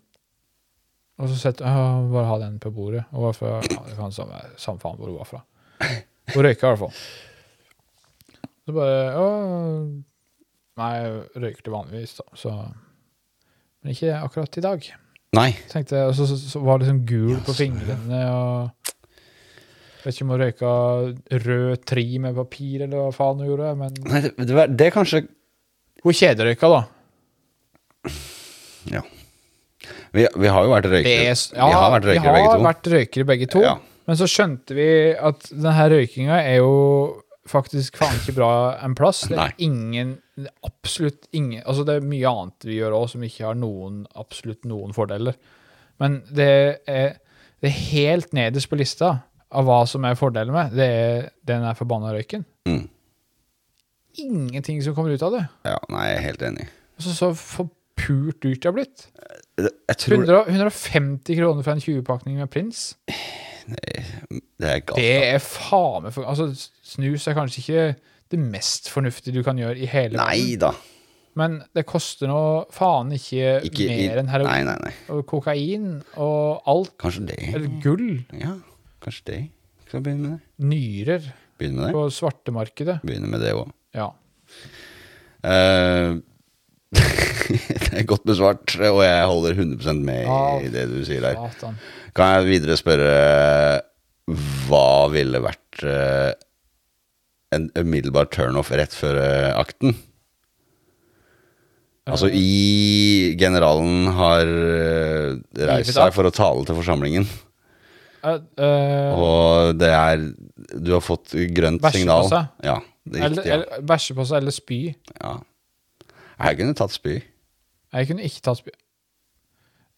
og så sett, «Å, bare ha den på bordet. Og hva for, ja, det kan samme, samme faen hvor hun var fra. Hun røyka i hvert fall. Så bare, «Å, Nei, jeg røyker til vanligvis, da. Så. Men ikke akkurat i dag.
Nei.
Tenkte jeg, og så, så, så var det liksom gul på fingrene og Vet ikke om hun røyka rød tri med papir, eller hva faen hun gjorde. Men
Nei, det, det, var- det er kanskje
hun kjederøyka, da.
Ja. Vi, vi har jo vært
Det
røykere.
er, s- ja,
vi har vært røykere begge to.
vært røykere begge to.
Ja.
Men så skjønte vi at denne røykinga er jo faktisk faen ikke bra en plass. Det
Nei.
er ingen det er Absolutt ingen Altså, det er mye annet vi gjør òg som ikke har noen, absolutt noen fordeler. Men det er, det er helt nederst på lista av hva som er fordelen med, det er den her forbanna røyken.
Mm.
Ingenting som kommer ut av det.
Ja, nei, jeg er helt enig.
Altså, så forpult dyrt det har blitt.
Det- Eh, Jeg tror
100, 150 kroner for en 20-pakning med Prins.
det er galt.
Det er faen meg for- Altså, snus er kanskje ikke det mest fornuftige du kan gjøre i hele
Nei
verden,
da.
men det koster nå faen ikke,
Ikke i-
mer enn
Nei,
heroin
nei, nei.
og kokain og alt.
Kanskje det.
Eller gull.
Ja, kanskje det. Skal vi begynne med det.
Nyrer
Begynne med det.
på svartemarkedet.
Begynne med det òg.
Ja.
det er godt besvart, og jeg holder 100 med i
Ja.
det du sier der.
Satan.
Kan jeg videre spørre hva ville vært eh, en umiddelbar turnoff rett før eh, akten.
Eh.
Altså i Generalen har eh, reist
Gitt akt?
seg for å tale til forsamlingen.
Eh, eh,
Og det er Du har fått grønt
Bæsje på
signal.
seg?
Ja, det er
eller,
riktig. Ja.
eller bæsje på seg eller spy.
Ja. Jeg kunne tatt spy.
Jeg kunne ikke tatt spy.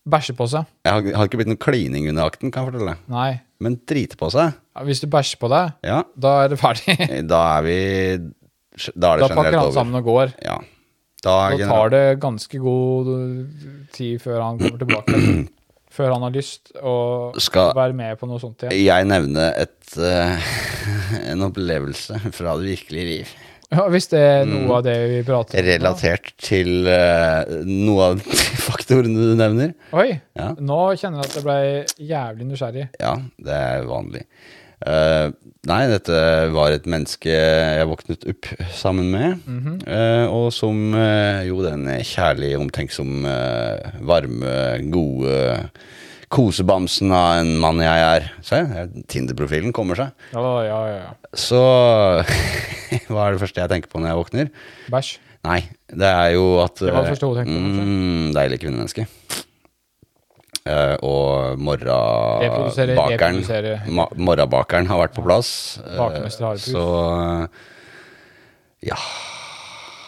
Bæsje på seg?
Jeg har, har ikke blitt noe klining under akten, kan jeg fortelle deg.
Nei.
Men drite på seg,
Ja, Hvis du bæsjer på deg,
ja.
da er det ferdig.
Da er vi Da er
Da
det
pakker
generelt
han
over.
sammen og går.
Ja. Da er
Da
generelt
tar det ganske god tid før han kommer tilbake. Før han har lyst å
Skal-
være med på noe sånt igjen.
jeg nevne et, eh, en opplevelse fra det virkelige liv.
Ja, hvis det er
Mm.
noe av det vi prater om. nå.
Relatert til eh, noe av de faktorene du nevner.
Oi!
Ja.
Nå kjenner jeg at jeg ble jævlig nysgjerrig.
Ja, det er vanlig. Eh, nei, dette var et menneske jeg våknet opp sammen med. eh, og som eh, jo den kjærlige, omtenksom, eh, varme, gode kosebamsen av en mann jeg er. Se, Tinder-profilen kommer seg.
Ja, ja, ja. ja.
Så hva er det første jeg tenker på når jeg våkner?
Bæsj.
Nei, det er jo at
Det var det første hun tenkte på, kanskje.
Mm, deilig kvinnemenneske. Eh, og morrabakeren
Reprodusere, reprodusere.
ma- Morrabakeren har vært på plass. eh,
Bakmester Harepus.
så eh, ja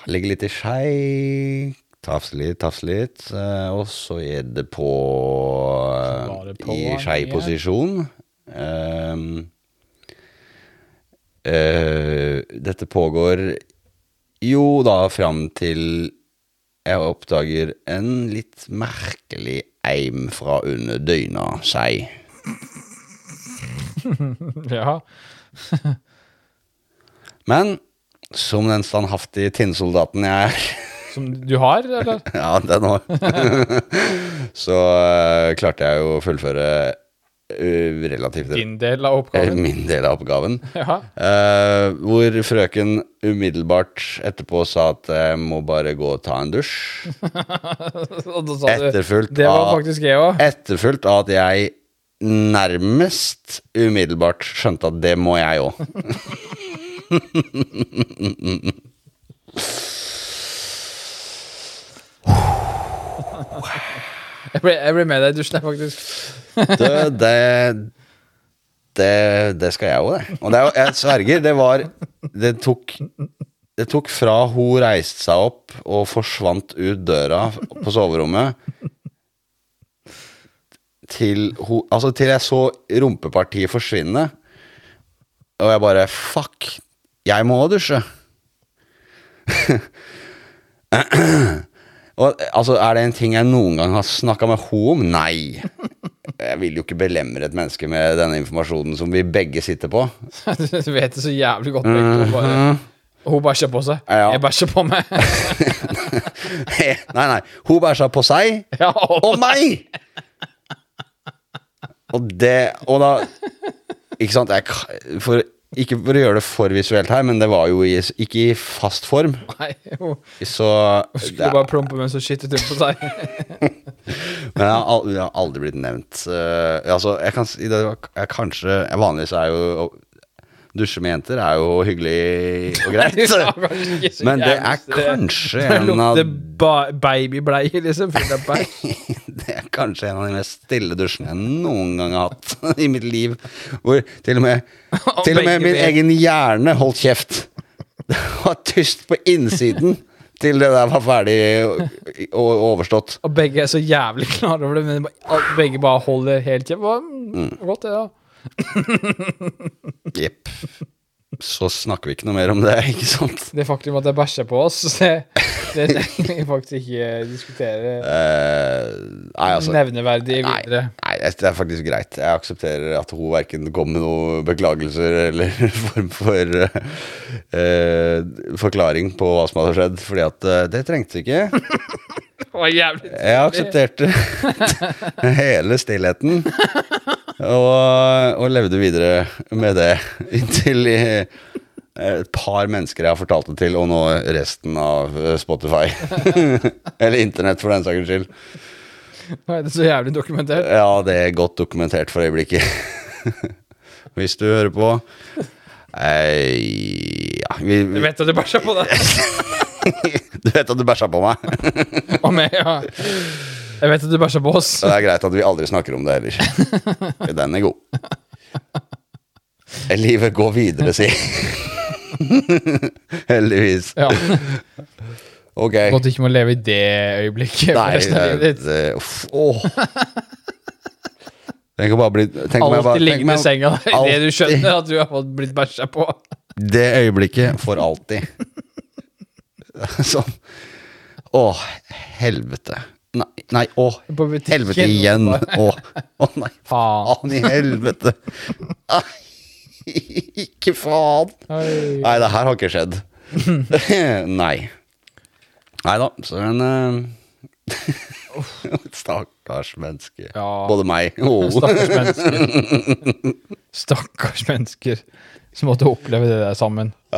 Legge litt i skei. Tafse litt, tafse litt. eh, og så er det på,
Så
eh,
var det på
I
han
skeiposisjon. Um, Eh, dette pågår jo da fram til jeg oppdager en litt merkelig eim fra under døgna seg.
Ja.
Men som den standhaftige tinnsoldaten jeg er
Som du har, eller?
Ja, den òg. Så eh, klarte jeg jo å fullføre eh, relativt
Din del av
eh,
oppgaven?
min del av oppgaven.
Ja.
Eh, hvor frøken umiddelbart etterpå sa at jeg må bare gå og ta en dusj.
Og da sa du
Etterfulgt
Det var
av-
faktisk jeg òg.
Etterfulgt av at jeg nærmest umiddelbart skjønte at det må jeg òg.
Jeg, ble- jeg ble med deg i dusjen, jeg, faktisk.
Det, det, det, det skal jeg òg, det. Og det, er jo- jeg sverger, det var Det tok det tok fra hun reiste seg opp og forsvant ut døra på soverommet, til, hun, altså til jeg så rumpepartiet forsvinne, og jeg bare Fuck, jeg må også dusje. Og, altså, er det en ting jeg noen gang har snakka med henne om? Nei. Jeg vil jo ikke belemre et menneske med denne informasjonen som vi begge sitter på.
Du vet det så jævlig godt. Bengt, og bare, hun bæsja på seg.
Mhm. Ja.
Jeg bæsjer på meg.
nei, nei. Hun bæsja på seg
Ja,
og meg! Og det Og da Ikke sant? Jeg, ka- for, ikke for å gjøre det for visuelt her, men det var jo i, ikke i fast form.
Nei, hun
Så
skulle bare plumpe mens hun skittet ut på seg.
Men jeg har, al jeg har aldri blitt nevnt. Eh, altså, jeg kan si det var k- jeg kanskje jeg Vanligvis er jo å Dusje med jenter er jo hyggelig og
Ja,
greit.
kanskje ikke så
Men det
jævlig
er
stress.
kanskje
Det
en av
lukter ba- babybleie, liksom. full av bæsj.
Det er kanskje en av de mest stille dusjene jeg noen gang har hatt i mitt liv. Hvor til og med, til og med min egen hjerne holdt kjeft. Det var tyst på innsiden til det der var ferdig og- og overstått.
Og begge er så jævlig klare over det, men bare- begge bare holder helt kjeft. Hva-
Mm.
Godt, det, da.
Jepp. Så snakker vi ikke noe mer om det, ikke sant?
Det faktum at jeg bæsjer på oss, det, det trenger vi faktisk ikke diskutere
Eh, nei, altså
nevneverdig
Nei,
videre.
nei, det er faktisk greit. Jeg aksepterer at hun verken kom med noen beklagelser eller form for eh, eh, forklaring på hva som hadde skjedd, fordi at eh, det trengtes ikke.
Det var jævlig
Jeg aksepterte hele stillheten og, og levde videre med det inntil eh, et par mennesker jeg har fortalt det til, og nå resten av eh, Spotify. Eller internett, for den saks skyld.
Nå er det så jævlig dokumentert.
Ja, det er godt dokumentert for øyeblikket. Hvis du hører på. Eh, ja vi,
Du
vi,
vet at du bæsja på deg?
Du vet at du bæsja på meg?
Og meg, ja. Jeg vet at du bæsja på oss.
Så det er greit at vi aldri snakker om det heller. Den er god. Eh, Livet går videre, si. Heldigvis.
Ja.
Ok.
Godt ikke må leve i det øyeblikket. for
Nei,
resten av
det,
livet ditt.
det, uff, åh. Tenk å bare bli tenk om jeg bare-
Alltid
tenk om
liggende i
jeg-
senga der idet du
Alltid.
skjønner at du har fått blitt bæsja på.
Det øyeblikket for alltid. sånn. Å, helvete. Nei, nei å,
På butikken.
helvete igjen. Å, å nei,
Faen.
faen i helvete. Ai, Ikke faen.
Oi.
Nei, det her har ikke skjedd. nei. Nei da, så en eh, Stakkars menneske.
Ja.
Både meg Oh. og
Stakkars mennesker. Stakkars mennesker som måtte oppleve det der sammen.
Åh,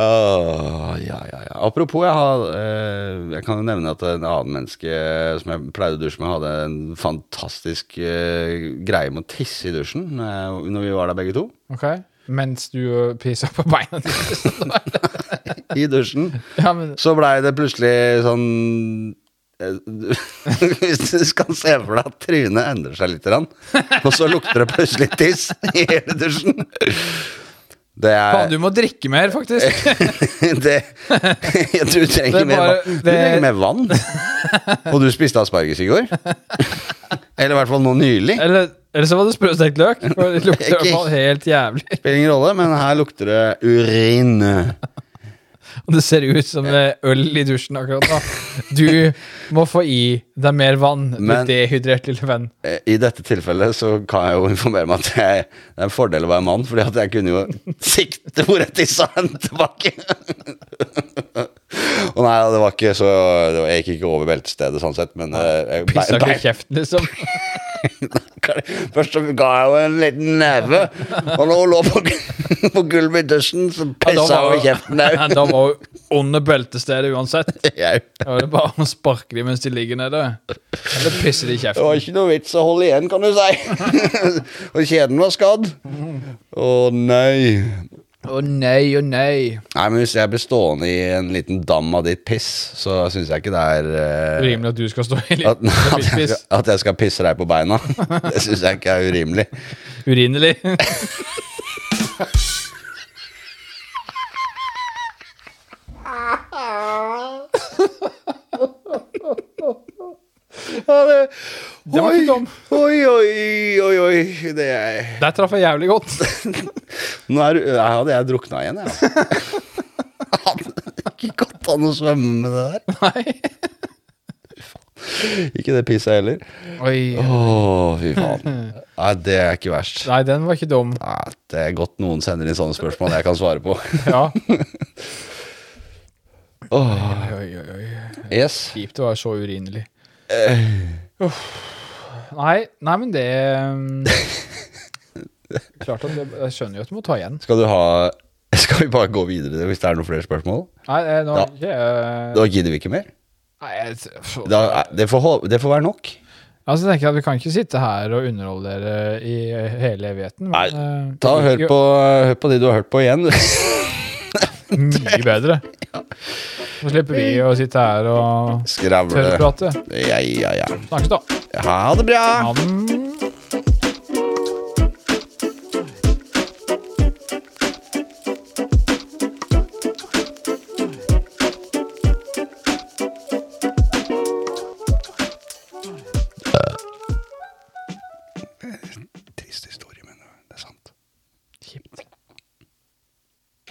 Ah, ja, ja, ja. Apropos, jeg, har, eh, jeg kan jo nevne at en annen menneske som jeg pleide å dusje med, hadde en fantastisk eh, greie med å tisse i dusjen eh, når vi var der begge to.
Ok? Mens du pissa på beina dine.
I dusjen.
Ja, men
Så blei det plutselig sånn eh, Hvis du skal se for deg at trynet endrer seg litt, grann, og så lukter det plutselig tiss i hele dusjen. Det er
faen, du må drikke mer, faktisk.
det, du, trenger
Det er
mer,
bare-
vann. du
det-
trenger mer vann. Og du spiste asparges i går. Eller i hvert fall nå nylig.
Eller, eller så var det sprøstekt løk. For det lukter i hvert fall helt jævlig.
Spiller ingen rolle, men her lukter det urin.
Og det ser ut som det er øl i dusjen akkurat nå. Du må få i deg mer vann, du
Men-
dehydrert lille venn.
Eh, I dette tilfellet så kan jeg jo informere meg at jeg, det er en fordel å være mann, fordi at jeg kunne jo sikte hvor jeg tissa hen tilbake. Og nei, det var ikke så det var, Jeg gikk ikke over beltestedet sånn sett, men eh, jeg, nei,
Pissa ikke i kjeften, liksom.
Først så ga jeg jo en liten neve, og når hun lå på, gu- på gulvet i dusjen, så
Da
pissa
var
hun i
jo-
kjeften òg.
Da var hun under beltestedet uansett.
Jeg-
Da var det bare å sparke dem mens de ligger nede. Eller pisse de i
Det var
kjeften.
ikke noe vits å holde igjen, kan du si. og kjeden var skadd. Å nei.
Å nei, å nei.
Nei, men Hvis jeg blir stående i en liten dam av ditt piss, så syns jeg ikke det er eh,
Urimelig at du skal stå i
at,
liten
at, jeg
piss.
skal, at jeg skal pisse deg på beina. Det syns jeg ikke er urimelig.
Urinelig.
det,
Det var ikke dum.
Oi, oi, oi, oi. Det er
Der traff jeg jævlig godt.
Nå er, du- her hadde jeg drukna igjen, jeg. altså. Hadde ikke gått an å svømme med det der.
Nei.
Ikke det pisset heller.
Oi.
Å, fy faen. Nei, det er ikke verst.
Nei, den var ikke dum.
Nei, det er godt noen sender inn sånne spørsmål jeg kan svare på.
Ja.
Åh,
Oi, oi, oi, oi.
yes.
Kjipt å være så urinelig.
Eh.
Uff. Nei, nei, men det um, Klart at det, Jeg skjønner jo at du må ta igjen.
Skal du ha Skal vi bare gå videre hvis det er noen flere spørsmål?
Nei, eh, nå
Ja.
ikke eh,
Da gidder vi ikke mer.
Nei, jeg, pff.
Da, det, får, hol- det får være nok.
Altså, jeg tenker at Vi kan ikke sitte her og underholde dere i hele evigheten.
Nei,
men, eh,
Ta og Hør
det gikk
på, hør på de du har hørt på igjen.
jo Mye bedre. Så slipper vi å sitte her og
Skravle.
tørre å prate.
Ja, ja, ja.
Snakkes, da.
Ha det bra.
Ha det.